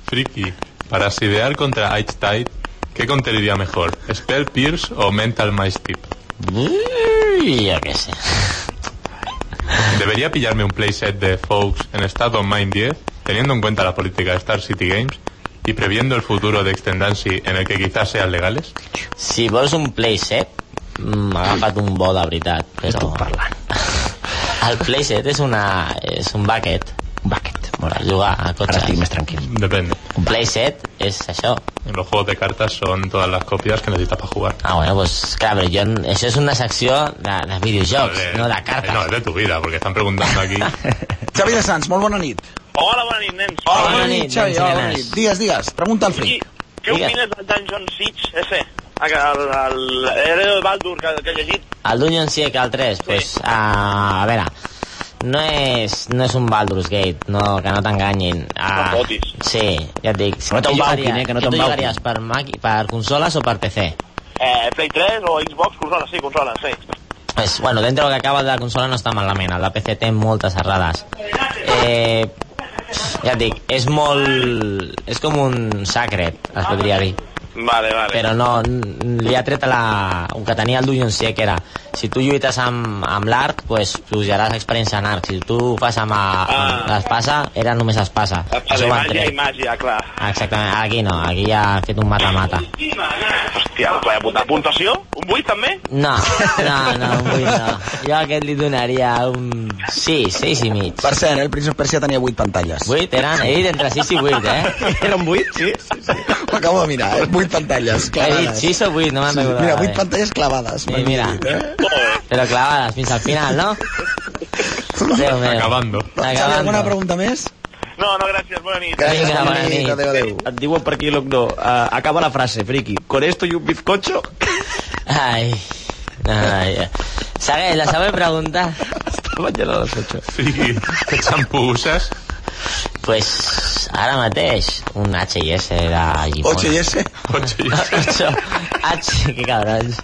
Speaker 3: Friki, para sidear contra Einstein, ¿qué conteniría mejor? ¿Spell Pierce o Mental Mind Tip?
Speaker 5: Ui, jo què sé.
Speaker 3: ¿Debería pillarme un playset de Fox en State of Mind 10, teniendo en cuenta la política de Star City Games y previendo el futuro de Extendancy en el que quizás sean legales?
Speaker 5: Si vols un playset, mm, agafa't un bo de veritat. Però... Estic parlant. El playset és, una, és un bucket. Un bucket. Per jugar a
Speaker 2: Ara estic més
Speaker 5: cotxes.
Speaker 2: tranquil.
Speaker 3: Depende.
Speaker 5: Un playset és això.
Speaker 3: En los juegos de cartas son todas las copias que necesitas para jugar.
Speaker 5: Ah, bueno, pues, clar, però jo, això és una secció de, de videojocs,
Speaker 3: Joder.
Speaker 5: Pues, no de
Speaker 3: Eh, No,
Speaker 5: cartes.
Speaker 3: es de tu vida, porque están preguntando aquí.
Speaker 4: Xavi de Sants, molt bona nit.
Speaker 9: Hola, bona nit, nens.
Speaker 5: Hola, bona nit,
Speaker 4: Xavi,
Speaker 5: nens i
Speaker 4: hola, bona
Speaker 5: nenes.
Speaker 4: nit. Digues, digues, pregunta al
Speaker 9: I
Speaker 4: Fric.
Speaker 9: què
Speaker 5: Digues.
Speaker 9: opines del Dungeon Siege, ese? El, el, el, era el Baldur que, que he llegit.
Speaker 5: El Dungeon Siege, el 3, pues, ah, a veure, no és, no és un Baldur's Gate, no, que no t'enganyin. Ah,
Speaker 9: No fotis.
Speaker 5: sí, ja et dic.
Speaker 2: no t'embauquin,
Speaker 5: jugaria-
Speaker 2: eh, que no
Speaker 5: tu
Speaker 2: t'embauquin.
Speaker 5: jugaries per, maqui, per consoles o per PC?
Speaker 9: Eh, Play 3 o Xbox, consola, sí, consola, sí.
Speaker 5: Pues, bueno, dentro del que acaba de la consola no està malament, el de PC té moltes errades. Eh, ja et dic, és molt... és com un sacret, es podria dir.
Speaker 9: Vale, vale.
Speaker 5: però no, n- li ha tret la... el que tenia el Dungeon Siege que era si tu lluites amb, amb l'arc pues, pujaràs experiència en arc si tu ho fas amb, a- amb
Speaker 9: Ah.
Speaker 5: l'espasa era només espasa Això
Speaker 9: de
Speaker 5: ho han
Speaker 9: màgia i
Speaker 5: tret.
Speaker 9: màgia, clar.
Speaker 5: exactament, aquí no, aquí ja han fet un mata-mata
Speaker 9: Hòstia, vaig apuntar puntuació? Un 8 també?
Speaker 5: no, no, no, vull no jo a aquest li donaria un 6, 6 i mig
Speaker 4: Per cert, eh, el príncep persià tenia vuit pantalles.
Speaker 5: 8 eren, he dit entre 6 i 8 eh?
Speaker 2: Era un buit, sí? sí, sí.
Speaker 4: Ho acabo de mirar, eh? vuit pantalles
Speaker 5: he dit
Speaker 4: clavades.
Speaker 5: 6 o 8 no me'n
Speaker 4: Sí,
Speaker 5: recordava
Speaker 4: mira,
Speaker 5: bé.
Speaker 4: vuit eh? pantalles clavades.
Speaker 5: Sí, eh. mira. però clavades fins al final, no? Déu meu.
Speaker 3: Acabando.
Speaker 4: Xavi, alguna pregunta més?
Speaker 9: No, no, gràcies, bona nit.
Speaker 5: Gràcies, Vinga, bona nit.
Speaker 4: Adéu, adéu.
Speaker 2: Et diuen per aquí, Locno, uh, acaba la frase, friki. Con esto y un bizcocho...
Speaker 5: Ai, ai. Segueix, la següent pregunta.
Speaker 2: Hasta mañana a las 8.
Speaker 3: Sí, ¿qué champú usas?
Speaker 5: Pues ara mateix, un H&S de llimona.
Speaker 4: Ocho i ese.
Speaker 3: Ocho y-
Speaker 5: Ocho. H, que cabrons.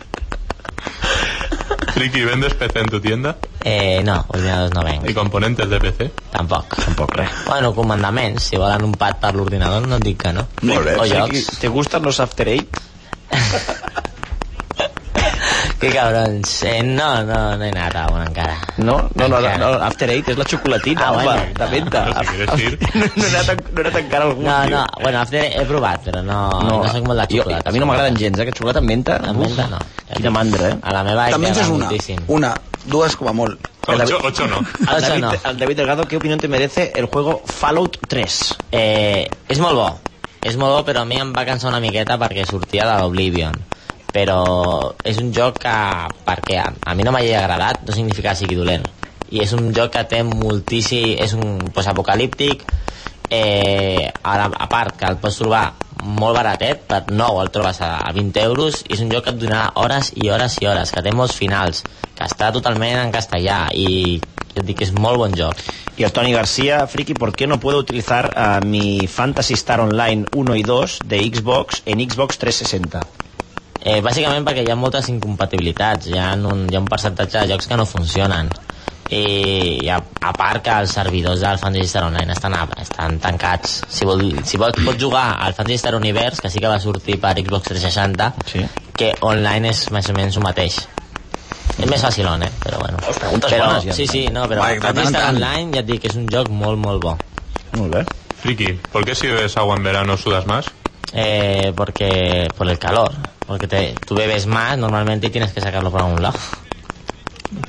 Speaker 3: Friki, ¿vendes PC en tu tienda?
Speaker 5: Eh, no, ordinadors no
Speaker 3: ¿Y
Speaker 5: venc,
Speaker 3: componentes de PC?
Speaker 5: tampoc. Tampoc res. Bueno, comandaments, si volen un pad per l'ordinador no et dic que no.
Speaker 4: Molt bé,
Speaker 5: O
Speaker 2: Friki,
Speaker 5: jocs.
Speaker 2: ¿Te gustan los After Eight?
Speaker 5: Que cabrons. Eh, no, no, no he anat a un encara.
Speaker 2: No, no, no, no,
Speaker 5: Encara.
Speaker 2: no, After Eight és la xocolatina,
Speaker 5: Ah,
Speaker 2: ah, home,
Speaker 5: bueno.
Speaker 2: de menta.
Speaker 3: No sé què dir.
Speaker 2: No, no, he anat, en- no he anat encara algú.
Speaker 5: No,
Speaker 2: tio.
Speaker 5: no, bueno, after he provat, però no, no, no soc molt de
Speaker 2: jo-
Speaker 5: xocolata.
Speaker 2: A mi no m'agraden gens, eh, aquest xocolata amb menta.
Speaker 5: Amb menta
Speaker 2: uf,
Speaker 5: no.
Speaker 2: Quina mandra, eh?
Speaker 5: A la meva
Speaker 4: Te'n menges una,
Speaker 5: moltíssim.
Speaker 4: una, dues com a molt.
Speaker 3: Ocho, ocho no.
Speaker 2: Al
Speaker 5: Ocho
Speaker 2: David,
Speaker 5: no.
Speaker 2: al David Delgado, ¿qué opinión te merece el juego Fallout 3?
Speaker 5: Eh, és molt bo. És molt bo, però a mi em va cansar una miqueta perquè sortia de l'Oblivion. Però és un joc que, perquè a, a mi no m'hagi agradat, no significa que sigui dolent. I és un joc que té moltíssim... És un postapocalíptic. Eh, a, la, a part, que el pots trobar molt baratet, per nou el trobes a, a 20 euros, i és un joc que et donarà hores i hores i hores, que té molts finals, que està totalment en castellà, i jo et dic que és molt bon joc.
Speaker 2: Y el Tony García, Friki, ¿por qué no puedo utilizar a mi Fantasy Star Online 1 y 2 de Xbox en Xbox 360?
Speaker 5: Eh, bàsicament perquè hi ha moltes incompatibilitats, hi ha un, hi ha un percentatge de jocs que no funcionen. i, i a, a part que els servidors del Fan Digital Online estan, a, estan tancats si, vol, si vols pots jugar al Fan Digital Universe que sí que va sortir per Xbox 360 sí. que online és més o menys el mateix és més fàcil on, eh? Però bueno. Les
Speaker 2: preguntes
Speaker 5: però,
Speaker 2: bones, ja.
Speaker 5: Sí, sí, no, però
Speaker 2: Mike, de
Speaker 5: Fan
Speaker 2: tant en
Speaker 5: Digital
Speaker 2: tant.
Speaker 5: Online ja et dic que és un joc molt, molt bo.
Speaker 2: Muy bien.
Speaker 3: Friki, ¿por qué si bebes agua en verano sudas más?
Speaker 5: Eh, porque por el calor. Porque te, tú bebes más normalmente y tienes que sacarlo por algún lado.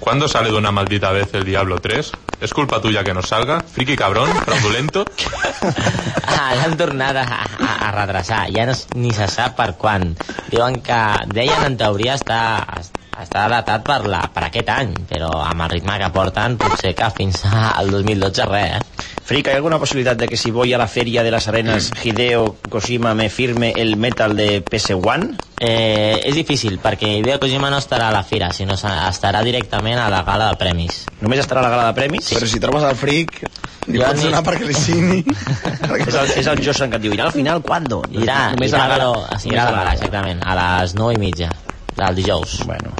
Speaker 3: ¿Cuándo sale de una maldita vez el Diablo 3? ¿Es culpa tuya que no salga? ¿Friki cabrón? ¿Fraudulento?
Speaker 5: Ah, l'han tornat a, a, a redreçar. Ja no, s- ni se sap per quan. Diuen que, deien, en teoria està, està datat per, la, per aquest any, però amb el ritme que porten potser que fins al 2012 res, eh?
Speaker 2: Frica, ¿hay alguna posibilidad de que si voy a la Feria de las Arenas,
Speaker 5: Mm.
Speaker 2: Hideo Kojima me firme el metal de PS1?
Speaker 5: Eh, és difícil, perquè Hideo Kojima no estarà a la fira, sinó se- estarà directament a la gala de premis.
Speaker 2: Només estarà a la gala de premis?
Speaker 5: Sí.
Speaker 4: Però si trobes el fric, li
Speaker 5: Jo
Speaker 4: pots
Speaker 5: ni-
Speaker 4: donar perquè li signi.
Speaker 2: és, el, és el Josan que et diu, irà al final, ¿cuándo?
Speaker 5: Irà,
Speaker 2: Només
Speaker 5: irà,
Speaker 2: a la
Speaker 5: però,
Speaker 2: gala.
Speaker 5: sí, irà a la gala, exactament, a les 9 i mitja del dijous.
Speaker 2: Bueno.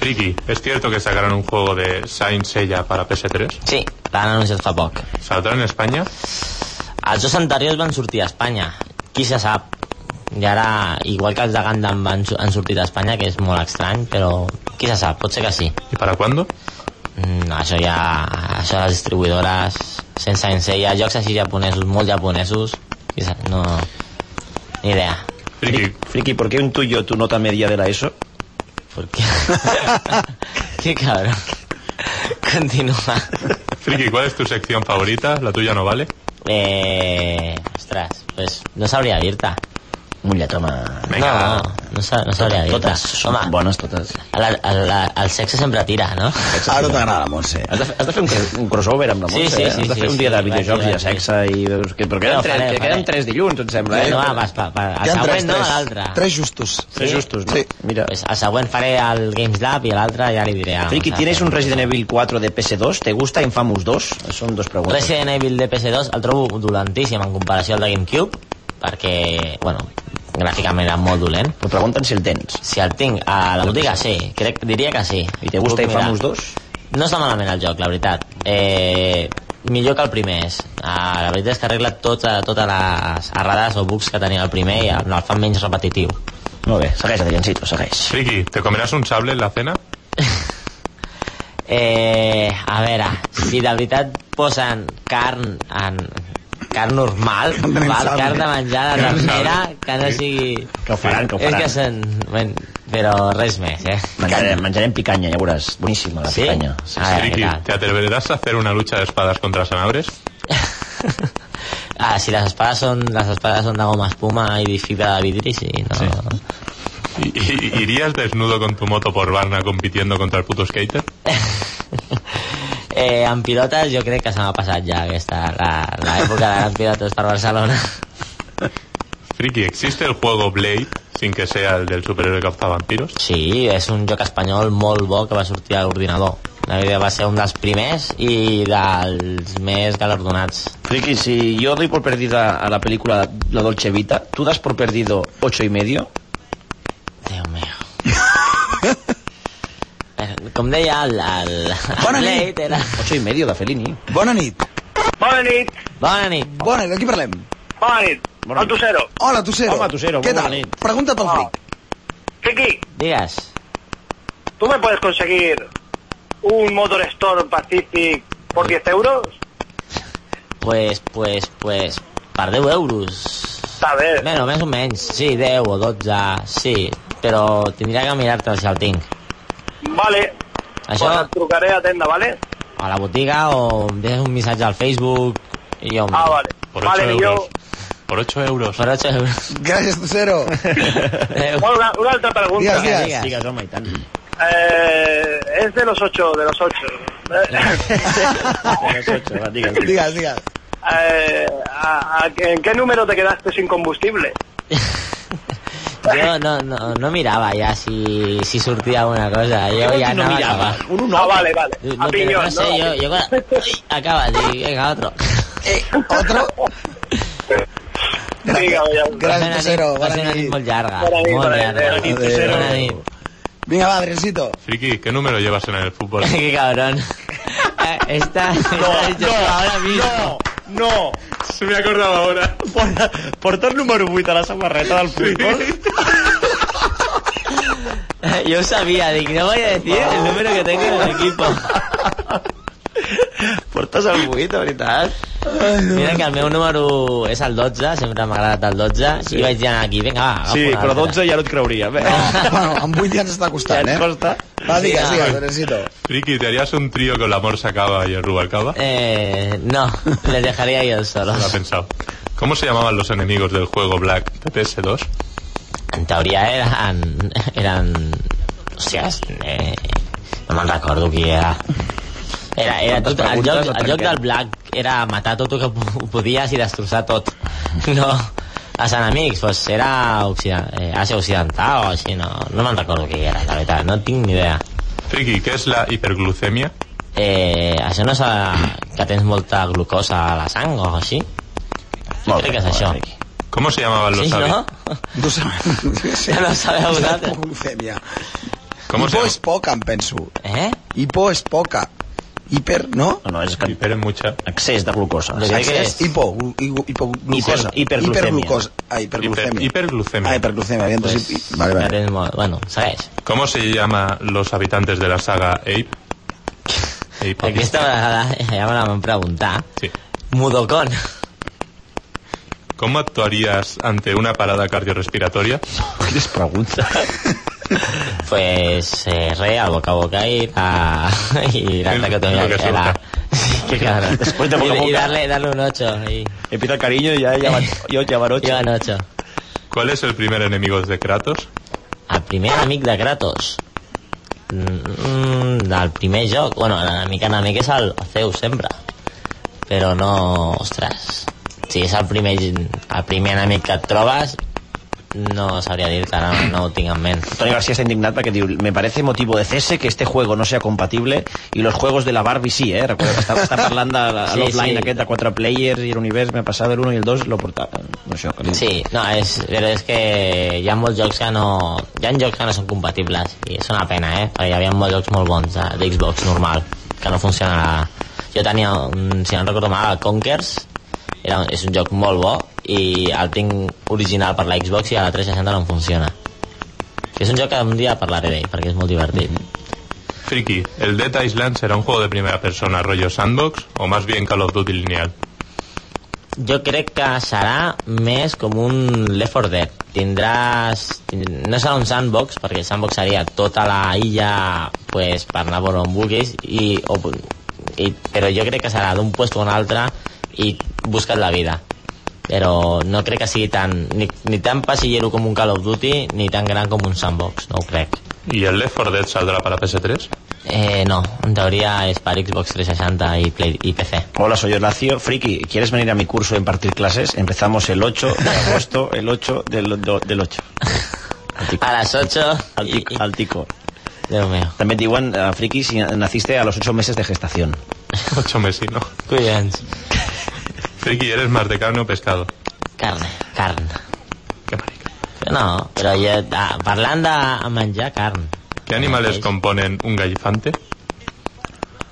Speaker 3: Friki, ¿es cierto que sacarán un juego de Saint Seiya para PS3?
Speaker 5: Sí, l'han anunciat fa poc.
Speaker 3: ¿Saldrá en España?
Speaker 5: Els dos anteriors van sortir a Espanya, qui se sap. I ara, igual que els de Gundam van, su- han sortit a Espanya, que és molt estrany, però qui se sap, potser que sí.
Speaker 3: ¿Y para cuándo?
Speaker 5: Mm, això ja, això de les distribuïdores, sense sense, hi ha jocs així japonesos, molt japonesos, qui se- no, ni idea.
Speaker 3: Friki,
Speaker 2: Friki, ¿por qué un tuyo tu nota media de la E ESO?
Speaker 5: Porque... Qué cabrón. Continua.
Speaker 3: Friki, ¿cuál es tu sección favorita? ¿La tuya no vale?
Speaker 5: Eh, ostras, pues no sabria dir-te.
Speaker 2: Mulla, toma.
Speaker 5: No, no, no, sa- no sabria dir-te.
Speaker 2: Totes són
Speaker 5: Home,
Speaker 2: bones, totes.
Speaker 5: el, el, el, el sexe sempre tira, no?
Speaker 2: Eh,
Speaker 4: Ara t'agrada, Montse.
Speaker 2: Has de, has de fer un, cro- un crossover amb la
Speaker 5: Sí,
Speaker 2: Montse,
Speaker 5: sí,
Speaker 2: eh?
Speaker 5: sí,
Speaker 2: Has de
Speaker 5: sí,
Speaker 2: fer un
Speaker 5: sí,
Speaker 2: dia de
Speaker 5: sí,
Speaker 2: videojocs
Speaker 5: vaig,
Speaker 2: i de
Speaker 5: vaig,
Speaker 2: sexe i... veus que- Però
Speaker 5: No,
Speaker 2: queden, tres,
Speaker 5: faré,
Speaker 2: que queden
Speaker 5: faré.
Speaker 2: tres dilluns, em sembla, eh?
Speaker 5: Bueno, va, vas, va, va. El
Speaker 4: Queden
Speaker 5: següent no,
Speaker 4: tres.
Speaker 5: l'altre.
Speaker 4: Tres justos.
Speaker 2: Tres justos, no?
Speaker 4: Sí.
Speaker 2: Mira.
Speaker 5: Pues el següent faré el Games Lab i l'altre ja li diré. ah,
Speaker 2: Friki,
Speaker 5: o sea,
Speaker 2: ¿tienes un Resident Evil 4 de PS2? ¿Te gusta Infamous 2? Son dos preguntas.
Speaker 5: Resident Evil de PS2 el trobo dolentíssim en comparació al de Gamecube, perquè, bueno, gràficament era molt dolent.
Speaker 2: Te preguntan si el tens.
Speaker 5: Si el tinc a la botiga, sí, crec, diria que sí.
Speaker 2: I te gusta
Speaker 5: Puc mirar.
Speaker 2: Infamous 2?
Speaker 5: No està malament el joc, la veritat. Eh, millor que el primer és. Ah, la veritat és que arregla tota, totes les errades o bugs que tenia el primer i el, el fan menys repetitiu.
Speaker 2: Molt bé, segueix, Adriancito, segueix.
Speaker 3: Friki, ¿te comerás un sable en la cena?
Speaker 5: Eh, a veure, si de veritat posen carn en carn normal,
Speaker 4: de
Speaker 5: val,
Speaker 4: sable.
Speaker 5: carn de menjar de
Speaker 3: Carn de
Speaker 5: ternera,
Speaker 3: sable.
Speaker 5: que no
Speaker 3: Sí.
Speaker 5: sigui...
Speaker 2: Que ho faran, que ho
Speaker 5: És
Speaker 2: faran.
Speaker 5: que sen... Ben, però res més, eh?
Speaker 2: Menjarem, menjarem picanya, ja veuràs. Boníssima, la
Speaker 5: Sí? Ah.
Speaker 2: picanya.
Speaker 5: A veure,
Speaker 3: Friki,
Speaker 5: què tal?
Speaker 3: ¿te atreverás a hacer una lucha de espadas contra sanabres?
Speaker 5: Ah, si les espades són, les espades són de goma espuma i de fibra de vidri, sí, no... Sí.
Speaker 3: ¿Y- y- ¿Irías desnudo con tu moto por Varna compitiendo contra el puto skater?
Speaker 5: Eh, en pilotes jo crec que se m'ha passat ja aquesta, la- l'època de en pilotes per Barcelona.
Speaker 3: Friki, ¿existe el juego Blade sin que sea el del superhéroe cazavampiros?
Speaker 5: Sí, és un joc espanyol molt bo que va sortir a l'ordinador. La veritat va ser un dels primers i dels més galardonats.
Speaker 2: Friki, si yo doy por perdida a la película La Dolce Vita, ¿tú das por perdido ocho y medio?
Speaker 5: Déu meu. Eh, Com deia el... el, el
Speaker 4: Bona
Speaker 5: Blade, era...
Speaker 2: Ocho y medio de Fellini.
Speaker 4: Bona nit.
Speaker 9: Bona nit.
Speaker 5: Bona nit.
Speaker 4: Bona nit, aquí parlem.
Speaker 9: Bona nit. Bona nit.
Speaker 2: Bona nit.
Speaker 9: El Tucero.
Speaker 4: Hola, Tucero.
Speaker 2: Hola, Tucero,
Speaker 4: Què
Speaker 2: bona
Speaker 4: tal?
Speaker 2: nit.
Speaker 4: Pregunta't al fric.
Speaker 9: Chiqui,
Speaker 5: Digues.
Speaker 9: ¿tú me puedes conseguir un Motor Store Pacific por 10 euros?
Speaker 5: Pues, pues, pues... Per 10 euros.
Speaker 9: A ver,
Speaker 5: Bueno, més o menys, sí, 10 o 12, sí, però tindria que mirar-te si el tinc.
Speaker 9: vale.
Speaker 5: Això-
Speaker 9: Pues et trucaré a tenda, ¿vale?
Speaker 5: A la botiga o em deixes un missatge al Facebook i jo... em-
Speaker 9: Ah, vale.
Speaker 3: Por 8
Speaker 9: vale,
Speaker 3: euros.
Speaker 9: yo...
Speaker 3: Por 8 euros.
Speaker 5: Per 8 euros.
Speaker 4: Gràcies, Tucero.
Speaker 5: Adéu.
Speaker 9: Una, una altra pregunta.
Speaker 4: Digues, digues.
Speaker 5: digues.
Speaker 2: Digues, home, i tant.
Speaker 9: Eh, es de los 8, de los Eh, 8.
Speaker 2: Digues, ocho, va, digues.
Speaker 4: Digues, digues.
Speaker 9: Eh, a- a- ¿En qué número te quedaste sin combustible?
Speaker 5: Jo no, no, no mirava ja si, si sortia alguna cosa, jo ja
Speaker 2: no
Speaker 5: anava
Speaker 2: mirava.
Speaker 5: a acabar.
Speaker 2: Un un
Speaker 9: Ah, vale, vale.
Speaker 5: No,
Speaker 9: A
Speaker 5: no, te-
Speaker 9: piñón,
Speaker 5: no sé, yo, yo con- Uy, acaba, sí, venga, otro.
Speaker 4: Eh, otro.
Speaker 9: Vinga, ja.
Speaker 4: Gràcies,
Speaker 5: Va ser una nit-
Speaker 4: Tucero.
Speaker 5: Va
Speaker 4: Bona
Speaker 5: ser una nit
Speaker 4: nit.
Speaker 5: molt llarga.
Speaker 9: Bona nit,
Speaker 5: molt
Speaker 9: bona nit,
Speaker 5: llarga.
Speaker 9: bona nit, Tucero.
Speaker 5: Bona nit.
Speaker 4: Venga, va, Adriancito.
Speaker 3: Friki, ¿qué número llevas en el fútbol?
Speaker 5: Qué cabrón. Ah, Está, ahora mismo.
Speaker 12: No, no.
Speaker 3: Se me ha acordado ahora.
Speaker 12: Portar número 8 a la samarreta del futbol.
Speaker 5: Yo sabía, Dick, no voy a decir el número que tengo en el equipo.
Speaker 2: Portes el 8, de veritat?
Speaker 5: Mira que el meu número és el 12, sempre m'ha agradat el 12, sí. i vaig dir aquí, vinga, va,
Speaker 2: Sí,
Speaker 5: agafo
Speaker 2: però
Speaker 5: l'altre.
Speaker 2: 12 ja Ah, pues, no et creuria. Bé.
Speaker 4: bueno, amb 8 ja ens està costant,
Speaker 2: Ja ens
Speaker 4: eh?
Speaker 2: costa.
Speaker 4: Va, digues,
Speaker 5: Sí,
Speaker 4: digues,
Speaker 5: va.
Speaker 4: Adriancito.
Speaker 3: Friki, ¿te harías un trío con la morsa cava y el rubalcaba?
Speaker 5: Eh, no, les dejaría yo
Speaker 3: Lo ha
Speaker 5: solos.
Speaker 3: pensado. ¿Cómo se llamaban los enemigos del juego Black de PS2?
Speaker 5: En teoria eren... eren... Hòsties, eh, no me'n recordo qui era. Era, era tot, el,
Speaker 2: preguntes
Speaker 5: joc,
Speaker 2: et
Speaker 5: el joc
Speaker 2: trenquem?
Speaker 5: del Black era matar tot el que po- podies i destrossar tot. No, els enemics, doncs era Occident, eh, Àsia Occidental o així, no, no me'n recordo qui era, la veritat, no tinc ni idea.
Speaker 3: Friki, ¿qué es la hiperglucemia?
Speaker 5: Eh, això no és eh, que tens molta glucosa a la sang o així? Jo crec que és això.
Speaker 3: ¿Cómo se llamaban los
Speaker 5: Sí,
Speaker 3: avi-
Speaker 5: no?
Speaker 4: Tu sabes...
Speaker 5: Ja no ho sabeu vosaltres.
Speaker 4: Hipoglucemia.
Speaker 3: ¿Cómo se
Speaker 4: Hipo
Speaker 3: llama?
Speaker 4: és poca, em penso.
Speaker 5: Eh?
Speaker 4: Hipo és poca. Hiper, no?
Speaker 2: No, no, és que
Speaker 3: Hiper en mucha.
Speaker 2: excés de glucosa.
Speaker 5: Lo que dic és...
Speaker 4: Hipo, glu- higo- hipoglucosa.
Speaker 2: Hiper- hiperglucemia.
Speaker 4: Hiperglucosa. Ah,
Speaker 3: Hiper-
Speaker 4: hiperglucemia.
Speaker 3: hiperglucemia.
Speaker 4: Ah, hiperglucemia. havia entès
Speaker 5: Pues,
Speaker 4: hipi- Vale, vale.
Speaker 5: Tens molt... Bueno, segueix.
Speaker 3: ¿Cómo se llama los habitantes de la saga Ape? Ape.
Speaker 5: Aquesta vegada eh, ja me la van preguntar.
Speaker 3: Sí.
Speaker 5: Mudocon.
Speaker 3: ¿Cómo actuarías ante una parada cardiorrespiratoria?
Speaker 2: Quines preguntes.
Speaker 5: Pues eh, re, al boca a boca y la... Y la
Speaker 3: El-
Speaker 5: traqueotomía
Speaker 3: lo que
Speaker 5: que era.
Speaker 3: surja.
Speaker 5: Sí, qué cabrón.
Speaker 2: Después de boca a
Speaker 5: Y- Y
Speaker 2: boca.
Speaker 5: darle, darle un 8. Y,
Speaker 2: He pitat carinyo i ja, ja van, jo ja van
Speaker 5: y
Speaker 2: ocho.
Speaker 5: van 8.
Speaker 3: ¿Cuál es el primer enemigo de Kratos?
Speaker 5: El primer enemic de Kratos. Mm, mm, del primer joc. Bueno, l'enemic enemic és el Zeus, sempre. Però no... Ostres. Si és el primer, el primer enemic que et trobes, no sabria dir-te, no, no ho tinc en ment.
Speaker 2: Tony García está indignado porque diu, me parece motivo de cese que este juego no sea compatible y los juegos de la Barbie sí, eh? Recuerdo que està, està parlant de la-
Speaker 5: Sí,
Speaker 2: l'offline
Speaker 5: sí.
Speaker 2: aquest de 4 players i l'univers m'ha passat el 1 i el 2 lo portava. No, això, que li-
Speaker 5: Sí, no, és, però és que hi ha molts jocs que no... Hi ha jocs que no són compatibles, i és una pena, eh? Perquè hi havia molts jocs molt bons de- d'Xbox normal, que no funcionarà. Jo tenia, un, si no recordo mal, el Conkers, era, un- és un joc molt bo, i el tinc original per la Xbox i a la 360 no em funciona. És un joc que un dia parlaré d'ell, perquè és molt divertit.
Speaker 3: Friki, ¿el Dead Island será un juego de primera persona rollo sandbox o más bien Call of Duty lineal?
Speaker 5: Jo crec que serà més com un Left 4 Dead. Tindràs... tind- No serà un sandbox, perquè el sandbox seria tota la illa pues, per anar per on vulguis, i, o, i, però jo crec que serà d'un puesto a un altre i busques la vida. Però no crec que sigui tan, ni, ni tan passillero com un Call of Duty, ni tan gran com un sandbox, no ho crec.
Speaker 3: ¿Y el Left 4 Dead saldrà para PS3?
Speaker 5: Eh, no, en teoria és per Xbox 360 i, Play, i PC.
Speaker 2: Hola, soy Horacio. Friki, ¿quieres venir a mi curso a impartir clases? Empezamos el 8 de agosto, el 8 del, do- del 8.
Speaker 5: A les 8...
Speaker 2: Al tico. Al tico.
Speaker 5: Déu meu.
Speaker 2: També et diuen, eh, Friki, si naciste a los 8 meses de gestación.
Speaker 3: Ocho meses, ¿no?
Speaker 5: Collons.
Speaker 3: Friki, ¿eres más de carne o pescado?
Speaker 5: Carn, carn.
Speaker 3: Qué marica.
Speaker 5: No, però jo, ah, parlant de menjar carn,
Speaker 3: ¿Qué animales componen un gallifante?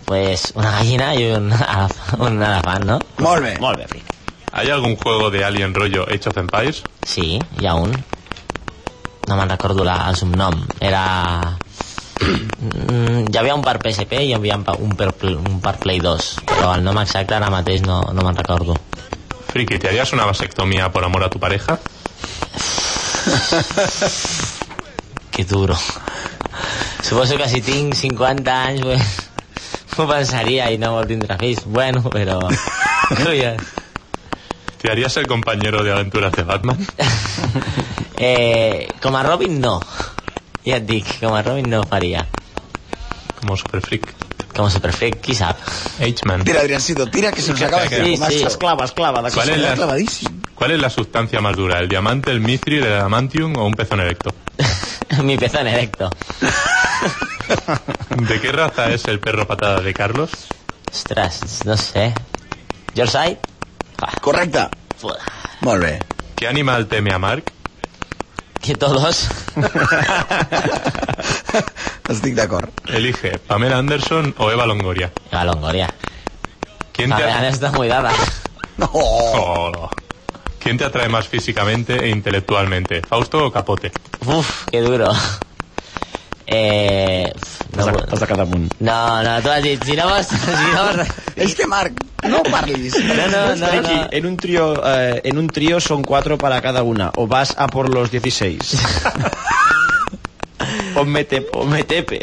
Speaker 5: pues una gallina i un, elef- un elefant, no?
Speaker 4: Molt bé.
Speaker 2: Molt bé, Friki.
Speaker 3: ¿Hay algún juego de Alien rollo Age of Empires?
Speaker 5: Sí, hi ha un. No me'n recordo la, el subnom. Era... Mm, hi havia un per PSP i hi havia un per, un per, Pl- un per Play 2, però el nom exacte ara mateix no, no me'n recordo.
Speaker 3: Friki, ¿te harías una vasectomía por amor a tu pareja?
Speaker 5: Que duro. Suposo que si tinc 50 anys, pues, m'ho pensaria i no vol tindre fills. Bueno, però... Collons.
Speaker 3: ¿Te harías el compañero de aventuras de Batman?
Speaker 5: Eh, com a Robin no. Ja et dic, com a Robin no ho faria.
Speaker 3: Como Super Freak.
Speaker 5: Com a Superfreak, qui sap?
Speaker 3: H-Man.
Speaker 4: Tira, Adriancito, tira, que se nos acaba el
Speaker 3: Sí,
Speaker 4: tiempo,
Speaker 5: sí.
Speaker 4: macho.
Speaker 2: Esclava, esclava. De
Speaker 3: ¿Cuál es,
Speaker 4: Está
Speaker 3: la,
Speaker 4: clavadísimo.
Speaker 3: cuál es la sustancia más dura? ¿El diamante, el mithril, el adamantium o un pezón erecto?
Speaker 5: Mi pezón erecto.
Speaker 3: ¿De qué raza es el perro patada de Carlos?
Speaker 5: Ostres, no sé. Yorkshire?
Speaker 4: Correcte.
Speaker 5: Foda.
Speaker 4: Molt bé.
Speaker 3: ¿Qué animal teme a Mark?
Speaker 5: Que todos...
Speaker 4: Estic d'acord.
Speaker 3: Elige Pamela Anderson o Eva Longoria.
Speaker 5: Eva Longoria.
Speaker 4: Em
Speaker 3: ¿Quién te Oh.
Speaker 5: Pamela está muy dada.
Speaker 4: No.
Speaker 3: ¿Quién te atrae más físicamente e intelectualmente? ¿Fausto o Capote?
Speaker 5: Uf, qué duro. Eh, no,
Speaker 2: Has de quedar amunt.
Speaker 5: no, no, tu has dit, si no vols... Si no vols...
Speaker 4: És que, Este Marc, no parlis.
Speaker 2: No, no, no, no. En un trío, eh, en un trío son cuatro para cada una. O vas a por los 16. Ponme tepe. Ponme tepe.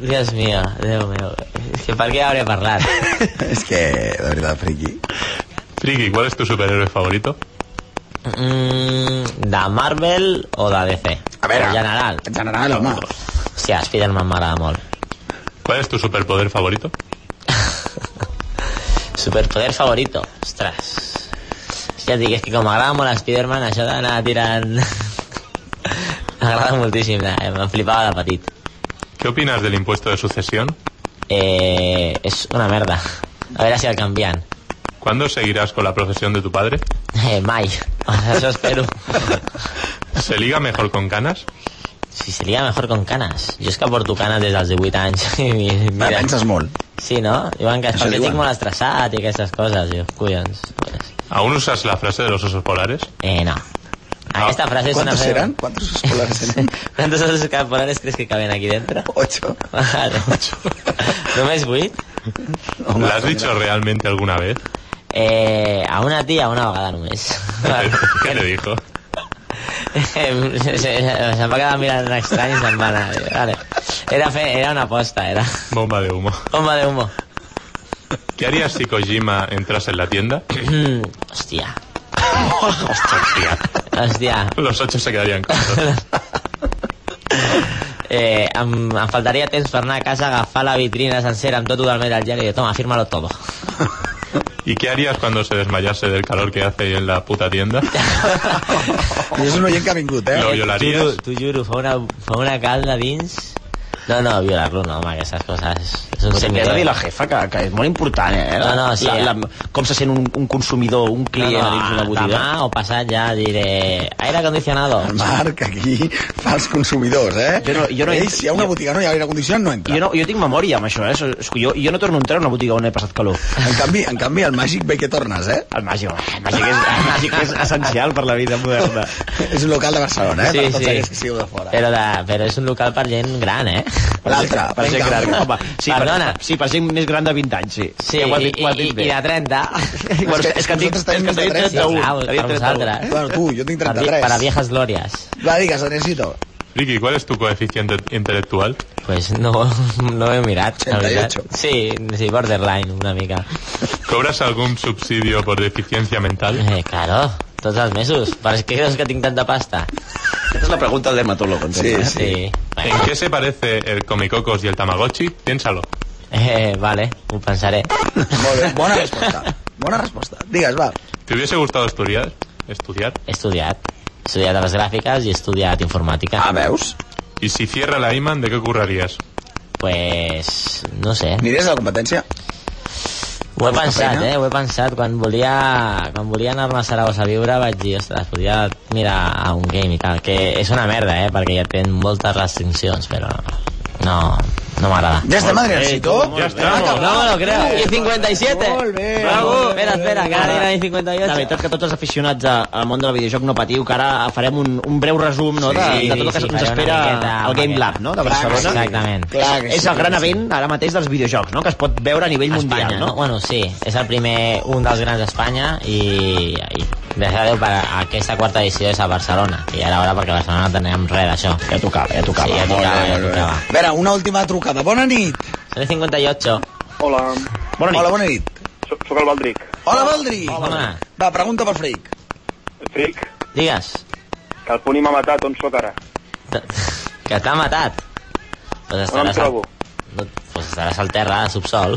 Speaker 5: Dios mío, Déu meu. És que per què hauré parlat?
Speaker 4: És que, de veritat, friqui.
Speaker 3: Friki, ¿cuál es tu superhéroe favorito?
Speaker 5: Mm, de Marvel o de DC?
Speaker 4: A veure,
Speaker 5: En general.
Speaker 4: En general, home.
Speaker 5: Hòstia, Spider-Man m'agrada molt.
Speaker 3: ¿Cuál es tu superpoder favorito?
Speaker 5: Superpoder favorito. Ostres. Ja et dic, és que com m'agrada molt Spider-Man, això d'anar tirant... m'agrada moltíssim, eh? em flipava de petit.
Speaker 3: ¿Qué opinas del impuesto de sucesión?
Speaker 5: Eh, és una merda. A veure si el canvien.
Speaker 3: ¿Cuándo seguirás con la profesión de tu padre?
Speaker 5: Eh, mai. Això espero.
Speaker 3: ¿Se liga mejor con canas?
Speaker 5: Si seria mejor con canes. Jo és que porto canes des dels 18 anys. I mi-
Speaker 4: Mira.
Speaker 5: Mira,
Speaker 4: Penses molt.
Speaker 5: sí, no? Diuen que és
Speaker 4: Això
Speaker 5: perquè
Speaker 4: diuen.
Speaker 5: estic molt estressat i aquestes coses. Jo, collons.
Speaker 3: ¿Aún usas la frase de los osos polares?
Speaker 5: Eh, no. Aquesta frase és una...
Speaker 4: Ah, ¿Cuántos
Speaker 5: frase-
Speaker 4: eran? ¿Cuántos escolares eran?
Speaker 5: ¿Cuántos osos polares crees que caben aquí dentro?
Speaker 4: Oh. Ocho.
Speaker 5: Vale. ¿Només 8?
Speaker 4: Home,
Speaker 3: ¿La has dicho realmente alguna vez?
Speaker 5: Eh, a una tia una vegada només.
Speaker 3: ¿Qué te dijo?
Speaker 5: Em, se- se- Se'm va quedar mirant estrany i se'n va anar. Vale. Era, fe, era una aposta, era
Speaker 3: Bomba de humo.
Speaker 5: bomba de humo.
Speaker 3: ¿Qué harías si Kojima entras en la tienda?
Speaker 5: Mm, Hòstia,
Speaker 3: Hostia,
Speaker 5: hòstia.
Speaker 3: los ocho se quedarían cortos.
Speaker 5: Eh, em, em faltaria temps per anar a casa a agafar la vitrina sencera amb tot del Metal Gear i dir, toma, fírmalo todo.
Speaker 3: ¿Y qué harías cuando se desmayase del calor que hace en la puta tienda?
Speaker 4: I és un oient que ha vingut, eh?
Speaker 3: Lo
Speaker 5: Eh,
Speaker 3: violarías.
Speaker 5: T'ho juro, t'ho juro, fa una, fa una calda dins... No, no, violar-lo no, home, aquestes coses... És un
Speaker 2: Sempre has de dir a la jefa, que, que és molt important, eh? La,
Speaker 5: No, no, sí.
Speaker 2: la, la, com se sent un, un consumidor, un
Speaker 5: No,
Speaker 2: client
Speaker 5: no,
Speaker 2: no, no, dins d'una botiga.
Speaker 5: demà o passat ja diré aire acondicionado.
Speaker 4: El Marc, aquí, fa els consumidors, eh?
Speaker 2: Jo no- jo no he-
Speaker 4: Ell, si hi ha una botiga no hi ha aire condicionat, no entra.
Speaker 2: Jo, no, jo tinc memòria amb això, eh? So- és que Jo, jo no torno a entrar a una botiga on he passat calor.
Speaker 4: En canvi, en canvi, el màgic ve que tornes, eh?
Speaker 2: El màgic, el màgic, és, el màgic és essencial per la vida moderna.
Speaker 4: És un local de Barcelona, eh?
Speaker 5: Sí,
Speaker 4: per tots
Speaker 5: sí.
Speaker 4: aquells que sigueu de fora.
Speaker 5: Però, de, però és un local per gent gran, eh?
Speaker 4: L'altre,
Speaker 2: Per gent
Speaker 4: vinga.
Speaker 2: gran, home. Sí,
Speaker 5: Perdona.
Speaker 2: Per, sí, per gent més gran de 20 anys, sí.
Speaker 5: Sí,
Speaker 2: Ja ho has
Speaker 5: i,
Speaker 2: dit- ho has
Speaker 5: i,
Speaker 2: dit
Speaker 5: i,
Speaker 2: bé.
Speaker 5: i de 30.
Speaker 2: Bueno, és, que- és que tinc,
Speaker 4: Nosaltres
Speaker 2: és que
Speaker 4: tenim més de
Speaker 2: tinc
Speaker 4: 30.
Speaker 2: 31. Tenia
Speaker 5: Clar, per
Speaker 2: 31.
Speaker 5: vosaltres.
Speaker 4: Bueno, tu, jo tinc
Speaker 5: Per, vi-
Speaker 4: 33.
Speaker 5: per a viejas glorias.
Speaker 4: Va, digues, necessito.
Speaker 3: Ricky, ¿cuál es tu coeficiente intelectual?
Speaker 5: Pues no, no he mirat, la veritat.
Speaker 4: 88.
Speaker 5: Sí, sí, borderline, una mica.
Speaker 3: ¿Cobras algún subsidio por deficiencia mental?
Speaker 5: Eh, claro, tots els mesos. Per què creus que tinc tanta pasta?
Speaker 2: Aquesta és la pregunta del dermatólogo. entenc,
Speaker 4: Sí,
Speaker 2: eh?
Speaker 4: sí.
Speaker 5: Sí.
Speaker 3: ¿En qué se parece el Comicocos y el Tamagotchi? Piénsalo.
Speaker 5: Eh, vale, ho pensaré.
Speaker 4: Molt bé, bona resposta. Bona resposta. Digues, va.
Speaker 3: ¿Te hubiese gustado estudiar? ¿Estudiar?
Speaker 5: He estudiat. He estudiat les gràfiques i he estudiat informàtica.
Speaker 4: Ah, veus?
Speaker 3: ¿Y si cierra la Iman, de qué currarías?
Speaker 5: Pues, no sé.
Speaker 4: Aniries a la competència?
Speaker 5: Ho he pensat,
Speaker 4: feina?
Speaker 5: eh? Ho he pensat. Quan volia, quan volia anar-me a Saragossa a viure vaig dir, ostres, podria mirar a un game i tal. Que és una merda, eh? Perquè ja tenen moltes restriccions, però no, no m'agrada.
Speaker 4: Ja estem, Adriancito?
Speaker 3: Ya estamos.
Speaker 5: Ah, No me lo creo. Y 57.
Speaker 4: Molt bé.
Speaker 5: Bravo. Espera, espera, que ara dirà i
Speaker 2: La
Speaker 5: 58.
Speaker 2: veritat que tots els aficionats a- al món del videojoc no patiu, que ara farem un, un breu resum no, de,
Speaker 5: Sí,
Speaker 2: de tot el que
Speaker 5: sí,
Speaker 2: ens
Speaker 5: faré una
Speaker 2: espera
Speaker 5: miqueta,
Speaker 2: al Game
Speaker 5: una
Speaker 2: Lab no, de Barcelona.
Speaker 5: Exactament.
Speaker 4: Clar que
Speaker 2: és
Speaker 4: sí.
Speaker 2: el gran event ara mateix dels videojocs, no? que es pot veure a nivell mundial.
Speaker 5: Espanya,
Speaker 2: No?
Speaker 5: no? Bueno, sí, és el primer, un dels grans d'Espanya i, i gràcies a Déu per aquesta quarta edició és a Barcelona i ara hora perquè a Barcelona no tenim res d'això ja tocava, ja tocava sí, ja
Speaker 4: Ah, Molt bé,
Speaker 5: tocava, ja
Speaker 4: molt bé.
Speaker 5: tocava.
Speaker 4: A veure, una última trucada. Bona nit.
Speaker 5: Són 58
Speaker 9: Hola,
Speaker 2: Bona nit.
Speaker 4: Hola, bona nit.
Speaker 9: sóc sóc el Baldric.
Speaker 4: Hola, Valdri.
Speaker 5: Hola.
Speaker 4: Va, pregunta pel Fric.
Speaker 9: Fric,
Speaker 5: digues
Speaker 9: que el Puni m'ha matat, on sóc ara?
Speaker 5: T- que t'ha matat pues
Speaker 9: On em
Speaker 5: Doncs estaràs, al,
Speaker 9: trobo?
Speaker 5: no, pues estaràs al terra, a subsol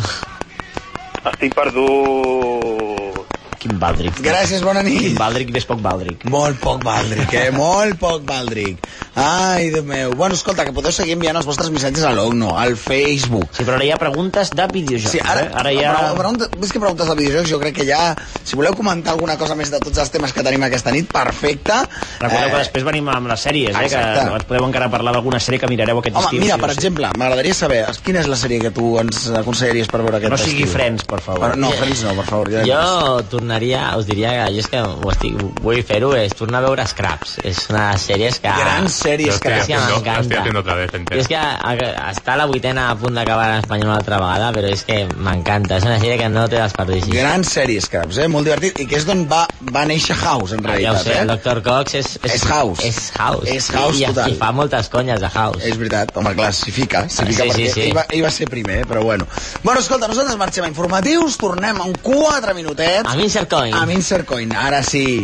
Speaker 9: Estic perdut...
Speaker 2: Quin Baldric.
Speaker 4: Gràcies, bona nit.
Speaker 2: Baldric, més poc Baldric.
Speaker 4: Molt poc Baldric, eh? Molt poc Baldric. Ai, Déu meu. Bueno, escolta, que podeu seguir enviant els vostres missatges a l'ONU, al Facebook.
Speaker 2: Sí, però ara hi ha preguntes de videojocs.
Speaker 4: Sí, ara,
Speaker 2: eh? Ara hi ha-
Speaker 4: Però, però, on- més que preguntes de videojocs, jo crec que ja... Si voleu comentar alguna cosa més de tots els temes que tenim aquesta nit, perfecte. Eh,
Speaker 2: Recordeu que després venim amb les sèries, eh, que
Speaker 4: Exacte.
Speaker 2: ens podeu encara parlar d'alguna sèrie que mirareu aquest
Speaker 4: Home,
Speaker 2: estiu.
Speaker 4: mira,
Speaker 2: sí o
Speaker 4: per
Speaker 2: sí.
Speaker 4: exemple, m'agradaria saber quina és la sèrie que tu ens aconsellaries per veure
Speaker 2: Que
Speaker 4: aquest
Speaker 2: no sigui
Speaker 4: estiu?
Speaker 2: Friends, per favor.
Speaker 4: Però no, Friends no, per favor. Ja
Speaker 5: eh, Jo tornaria, us diria que jo és que ho estic, vull fer-ho, és tornar a veure Scraps. És una sèrie que...
Speaker 4: Grans sèries,
Speaker 5: que,
Speaker 4: caram.
Speaker 5: Ah, que m'encanta.
Speaker 3: otra vez, entero.
Speaker 5: Jo és que a, a, està a la vuitena a punt d'acabar en espanyol una altra vegada, però és que m'encanta. És una sèrie que no te desperdeixis.
Speaker 4: Grans sèries, Scraps, eh? Molt divertit. I que és d'on va, va néixer House, en
Speaker 5: Ah, Ja ho
Speaker 4: realitat,
Speaker 5: sé,
Speaker 4: eh?
Speaker 5: el Dr. Cox és...
Speaker 4: És House.
Speaker 5: És House.
Speaker 4: És House
Speaker 5: I,
Speaker 4: total.
Speaker 5: I fa moltes conyes de House.
Speaker 4: És veritat, home, clar, s'hi fica, s'hi fica
Speaker 5: sí,
Speaker 4: perquè
Speaker 5: sí, sí.
Speaker 4: Ell, va, ell va ser primer, eh, però bueno. Bueno, escolta, nosaltres marxem a informatius, tornem en 4 minutets.
Speaker 5: Amb Insert Coin.
Speaker 4: Amb Insert Coin, ara sí.